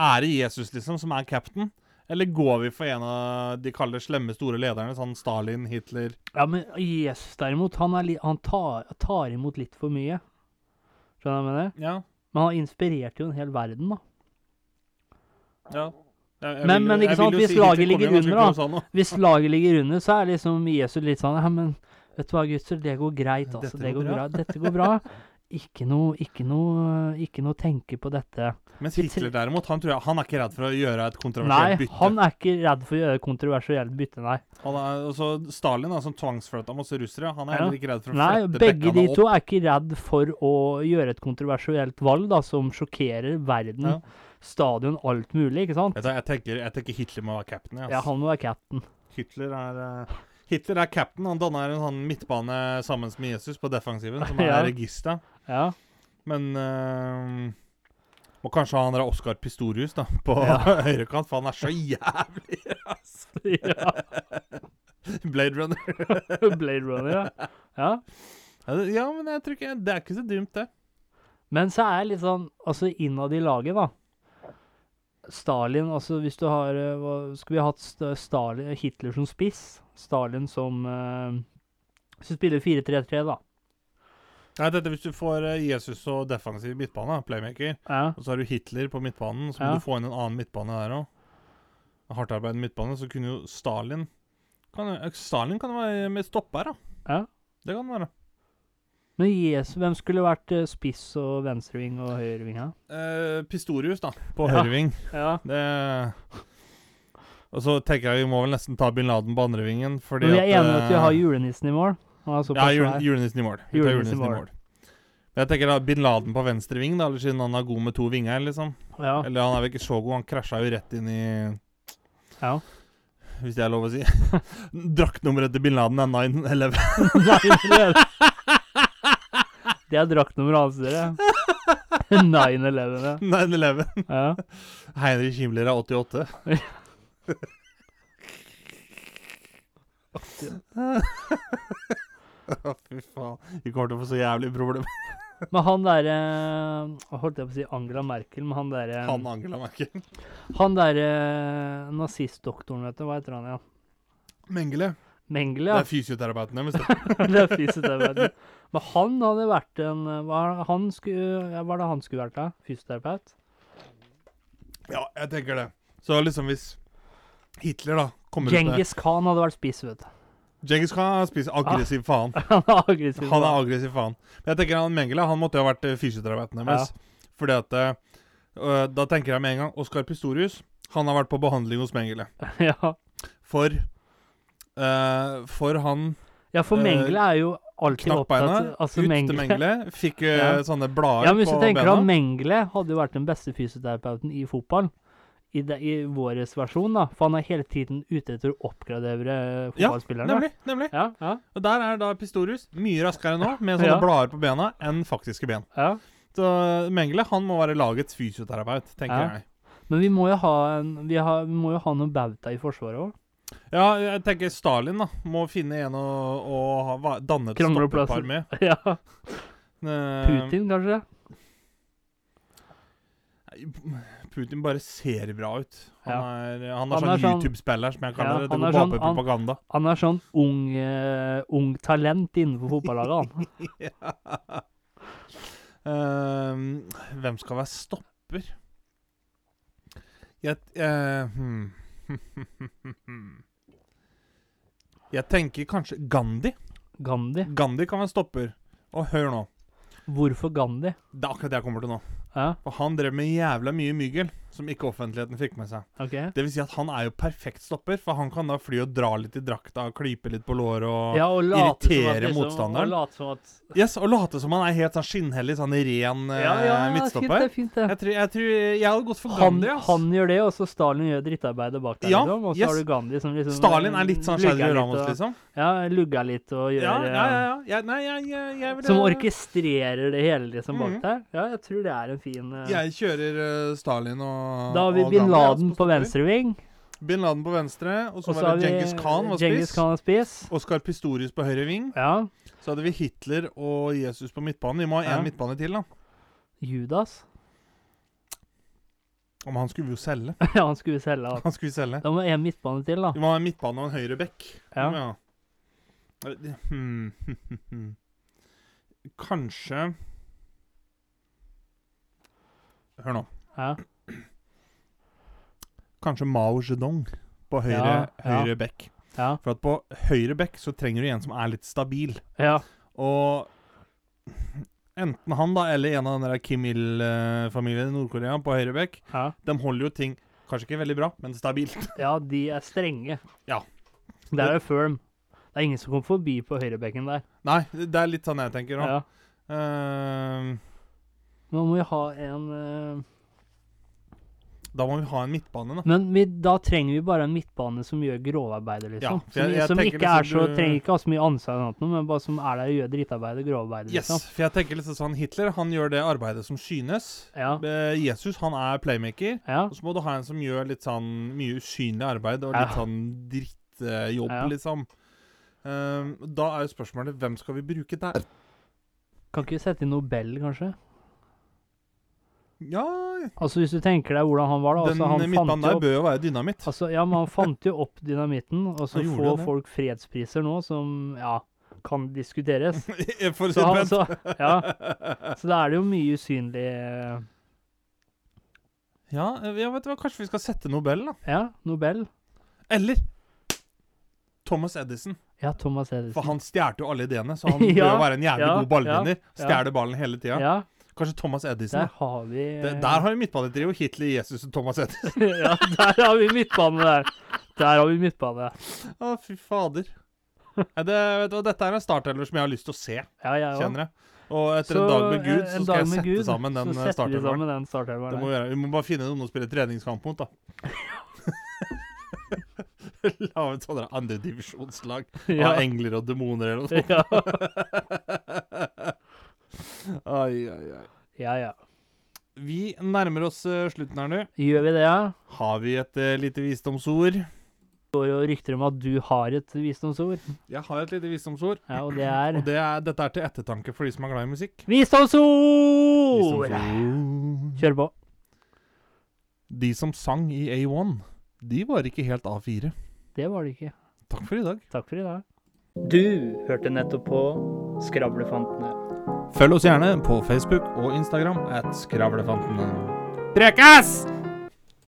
S2: Er det Jesus, liksom, som er captain? Eller går vi for en av de kaller slemme store lederne, sånn Stalin, Hitler
S1: Ja, men Jesus derimot, han, er li han tar, tar imot litt for mye. Skjønner du hva jeg mener?
S2: Ja.
S1: Men han inspirerte jo en hel verden, da.
S2: ja. Jeg- jeg
S1: Men-
S2: vil jo-
S1: men ikke
S2: jeg vil
S1: sant,
S2: jo
S1: hvis
S2: si Hitler
S1: laget ligger
S2: kom igjen,
S1: under,
S2: skulle kunne sa noe.
S1: Hvis laget ligger under, så er liksom Jesus litt sånn Ja, men vet du hva, gutter, det går greit, altså.
S2: Dette
S1: Det går
S2: går
S1: bra.
S2: bra.»
S1: Dette går bra. Ikke noe, ikke noe, ikke noe tenke på dette.
S2: Mens
S1: Vi
S2: Hitler derimot, han tror jeg, han er ikke redd for å gjøre et kontroversielt
S1: Nei,
S2: bytte.
S1: han er ikke redd for å gjøre kontroversielt bytte, nei.
S2: Han er, og så Stalin, da, som tvangsflytta masse russere, han er
S1: Ja.
S2: heller ikke redd for å
S1: Nei,
S2: flytte
S1: begge de
S2: bekkene opp.
S1: to er ikke redd for å gjøre et kontroversielt valg, da, som sjokkerer
S2: Ja.
S1: verden, stadion, alt mulig, ikke sant?
S2: Vet du, jeg, tenker, jeg tenker Hitler må være captain. jeg, ass.
S1: Ja, han må være cap'n.
S2: Hitler er eh, Hitler er captain. Han danner en sånn midtbane sammen med Jesus på defensiven, som er
S1: Ja.
S2: regista.
S1: Ja.
S2: Men eh, Må kanskje ha han der Oskar Pistorius da, på
S1: Ja.
S2: høyrekant, for han er så jævlig
S1: ja.
S2: Blade Runner.
S1: Blade Runner, ja. ja.
S2: Ja, det- Ja, men jeg tror ikke Det er ikke så dumt, det.
S1: Men så er litt sånn, altså innad i laget, da Stalin, altså hvis du har eh, hva, Skulle vi hatt St- Stalin, Hitler som spiss? Stalin som eh, Hvis du spiller 4-3-3, da.
S2: Nei, dette hvis du får eh, Jesus og defensiv midtbane, playmaker,
S1: Ja.
S2: og så har du Hitler på midtbanen, så må
S1: Ja.
S2: du få inn en annen midtbane der òg. Hardtarbeidende midtbane, så kunne jo Stalin kan, eh, Stalin kan være med stopper, da.
S1: Ja.
S2: Det kan være.
S1: Men Jesu, hvem skulle vært eh, spiss og venstreving og høyreving? Ja?
S2: Eh, Pistorius, da, på
S1: Ja.
S2: høyreving.
S1: ja.
S2: Det Og så tenker jeg vi må vel nesten ta bin Laden på andrevingen, fordi
S1: Men vi er enige
S2: eh,
S1: om at vi har julenissen i mål. Han er
S2: Ja,
S1: såpass
S2: jul,
S1: svær.
S2: julenissen i mål. Vi tar
S1: Julenissen i
S2: julenissen i
S1: mål.
S2: mål. Men Jeg tenker da bin Laden på venstre ving, da, eller siden han er god med to vinger, liksom.
S1: Ja,
S2: Eller han er vel ikke så god, han krasja jo rett inn i
S1: ja.
S2: Hvis det er lov å si. Draktnummeret til bin Laden er 911.
S1: Nei, det er det. Det er draktnummeret hans, dere. 9-11, ja.
S2: 911.
S1: ja.
S2: Heinrich Himmler er 88. Å, fy faen. Vi kommer til å få så jævlig problem.
S1: Men han derre Holdt jeg på å si Angela Merkel, men han derre
S2: Han Angela Merkel.
S1: Han derre nazistdoktoren, vet du. Hva heter han igjen?
S2: Mengele.
S1: Mengele,
S2: Det er fysioterapeuten deres. det.
S1: ja. Det er fysioterapeuten. Men han hadde vært en eh, Hva er- han skulle, ja, hva er det han skulle vært, da? Fysioterapeut?
S2: Ja, jeg tenker det. Så liksom hvis Hitler, da, kommer ut
S1: Genghis Khan hadde vært spiss, vet du.
S2: med Genghis Khan spiser aggressiv faen.
S1: Han er aggressiv.
S2: Han er aggressiv faen. Men jeg tenker han Mengele, han måtte jo ha vært eh, fysioterapeuten deres. Fordi at eh, øh, Da tenker jeg med en gang Oskar Pistorius, han har vært på behandling hos Mengele.
S1: ja.
S2: For eh, For han
S1: ja, for
S2: Eh,
S1: Mengele er jo alltid
S2: knakk
S1: opptatt
S2: beina,
S1: altså,
S2: ut til Mengele, fikk eh,
S1: Ja.
S2: sånne blader
S1: Ja, men hvis
S2: på
S1: du tenker
S2: bena.
S1: at Mengele hadde jo vært den beste fysioterapeuten i fotball, i, de, i våres versjon, da, for han er hele tiden ute etter å oppgradere eh, fotballspillerne.
S2: Nemlig. nemlig.
S1: Ja, ja,
S2: Og der er da Pistorius mye raskere nå, med sånne
S1: Ja.
S2: blader på bena, enn faktiske ben.
S1: ja.
S2: Så eh, Mengele han må være lagets fysioterapeut,
S1: Ja.
S2: tenker jeg.
S1: Men vi må jo ha, en, vi har, vi må jo ha noen bauta i forsvaret òg.
S2: Ja, jeg tenker Stalin da, må finne en å, å ha, va- danne et
S1: Krangleplasser.
S2: stoppepar med.
S1: ja.
S2: Eh,
S1: Putin, kanskje?
S2: Putin bare ser bra ut. Han er, han er
S1: Han
S2: sånn
S1: er sånn-
S2: YouTube-spiller, som jeg
S1: Ja,
S2: kaller det. Det
S1: han
S2: går
S1: er
S2: bare
S1: sånn-
S2: på
S1: han-
S2: propaganda.
S1: Han er sånn ung, eh, ung talent innenfor fotballaget, han.
S2: Ehm, hvem skal være stopper? Jeg eh, hmm. Jeg tenker kanskje Gandhi.
S1: Gandhi.
S2: Gandhi kan være stopper. Og hør nå.
S1: Hvorfor Gandhi?
S2: Det er akkurat det jeg kommer til nå.
S1: Ja,
S2: For han drev med jævla mye mygel som ikke offentligheten fikk med seg.
S1: OK.
S2: Det vil si at han er jo perfekt stopper, for han kan da fly og dra litt i drakta, klype litt på låret og
S1: Ja, og late som at
S2: irritere
S1: liksom-
S2: motstanderen.
S1: Og late som at
S2: Yes, og late som han er helt sånn skinnhellig, sånn ren
S1: Ja,
S2: eh,
S1: ja, ja fint
S2: midtstopper.
S1: det, fint det.
S2: Jeg tror, jeg tror jeg hadde gått for
S1: Han,
S2: Gandhi, ass.
S1: han gjør det, og så Stalin gjør drittarbeidet bak der.
S2: Ja,
S1: liksom. Og så
S2: yes.
S1: har du Gandhi som liksom
S2: Stalin er litt sånn
S1: lugger
S2: Shadow
S1: litt
S2: Ramos,
S1: og-
S2: liksom.
S1: Ja, lugger litt og gjør eh,
S2: Ja, ja, ja. ja. Jeg, nei, jeg, jeg, jeg vil
S1: Som orkestrerer det hele liksom bak
S2: Mhm.
S1: der. Ja, jeg tror det er en fin eh,
S2: Jeg kjører eh, Stalin og
S1: Da har vi
S2: og
S1: bin
S2: Gandhi, ass,
S1: Laden på
S2: stopper.
S1: venstreving.
S2: Bin Laden på venstre, og så
S1: Og så
S2: var
S1: har
S2: det
S1: vi
S2: Genghis Khan var
S1: Genghis
S2: spiss.
S1: Khan var spiss.
S2: Oskar Pistorius på høyre ving.
S1: Ja.
S2: Så hadde vi Hitler og Jesus på midtbanen. Vi må ha én
S1: Ja.
S2: midtbane til, da.
S1: Judas.
S2: Om han skulle jo selge.
S1: ja, han skulle selge alt.
S2: Han skulle jo selge.
S1: Da må en midtbane til, da.
S2: Vi må ha en midtbane og en høyre bekk.
S1: Ja.
S2: Ja. Hmm. Kanskje Hør nå.
S1: Ja.
S2: Kanskje Mao Zedong på høyre,
S1: Ja, ja.
S2: høyre bekk.
S1: Ja.
S2: For at på høyre bekk så trenger du en som er litt stabil.
S1: ja.
S2: Og enten han da, eller en av den der Kim Il-familien i Nord-Korea på høyre bekk,
S1: ja.
S2: de holder jo ting Kanskje ikke veldig bra, men stabilt.
S1: Ja, de er strenge.
S2: Ja.
S1: Der er firm. Det er ingen som kommer forbi på høyrebekken der.
S2: Nei, det er litt sånn jeg tenker Eh, òg.
S1: Ja. Nå må vi ha en eh,
S2: da må vi ha en midtbane, da.
S1: Men vi, da trenger vi bare en midtbane som gjør grovarbeidet, liksom.
S2: Ja, for jeg-
S1: som
S2: jeg
S1: som
S2: tenker
S1: ikke
S2: liksom
S1: er så,
S2: du-
S1: trenger ikke ha så mye ansvar, eller noe, men bare som er der og gjør drittarbeidet, grovarbeidet,
S2: Yes,
S1: liksom.
S2: for jeg tenker litt sånn Hitler han gjør det arbeidet som synes.
S1: Ja.
S2: Eh, Jesus han er playmaker.
S1: Ja.
S2: Og så må du ha en som gjør litt sånn mye usynlig arbeid og litt
S1: Ja.
S2: sånn drittjobb,
S1: Ja.
S2: liksom. Ehm, da er jo spørsmålet hvem skal vi bruke der?
S1: Kan ikke vi sette inn Nobel, kanskje?
S2: Ja,
S1: Altså, hvis du tenker deg hvordan han var, da.
S2: den
S1: Altså, han
S2: midtbanen
S1: fant jo
S2: der
S1: opp,
S2: bør jo være dynamitt.
S1: altså, ja, men han fant jo opp dynamitten, og så
S2: Han gjorde
S1: får
S2: det.
S1: folk fredspriser nå som, ja, kan diskuteres.
S2: For å si
S1: Så, han,
S2: det pent.
S1: så, ja. så da er det jo mye usynlig eh,
S2: Ja, jeg vet hva, kanskje vi skal sette Nobel, da.
S1: Ja, Nobel.
S2: Eller Thomas Edison.
S1: Ja, Thomas Edison.
S2: For han stjal jo alle ideene, så han bør
S1: Ja,
S2: jo være en jævlig
S1: ja,
S2: god ballvinner.
S1: ja.
S2: Stjeler ballen hele tida.
S1: ja.
S2: Kanskje Thomas Edison.
S1: der har vi
S2: Der, der har jo midtbanetrio Hitler, Jesus og Thomas Edison.
S1: Ja, der har vi midtbane der. Der har vi midtbane.
S2: Å, fy fader. Nei, Det, vet du, hva, dette er en startelver som jeg har lyst til å se,
S1: Ja, jeg eh, òg.
S2: kjenner jeg. Og etter en dag med Gud, så skal jeg sette sammen den eh,
S1: Så setter vi
S2: startelveren.
S1: sammen den
S2: Det må
S1: startelveren.
S2: vi, gjøre. vi må bare finne noen å spille treningskamp mot, da. Lage et sånt andredivisjonslag
S1: der.
S2: av engler og demoner eller noe sånt.
S1: Ja.
S2: Ai, ai, ai.
S1: ja, ja.
S2: Vi nærmer oss eh, slutten her nå.
S1: Gjør vi det, ja?
S2: Har vi et eh, lite visdomsord?
S1: Det går jo rykter om at du har et visdomsord,
S2: Jeg har et lite visdomsord.
S1: ja, og det er
S2: Og det er, dette er til ettertanke for de som er glad i musikk.
S1: Visdomsord!
S2: Visdomsord.
S1: Kjør på.
S2: De som sang i A1, de var ikke helt A4.
S1: Det var det ikke.
S2: Takk for i dag.
S1: Takk for i dag. Du hørte nettopp på Skravlefantene.
S2: Følg oss gjerne på Facebook og Instagram at Skravlefantene. Prekas!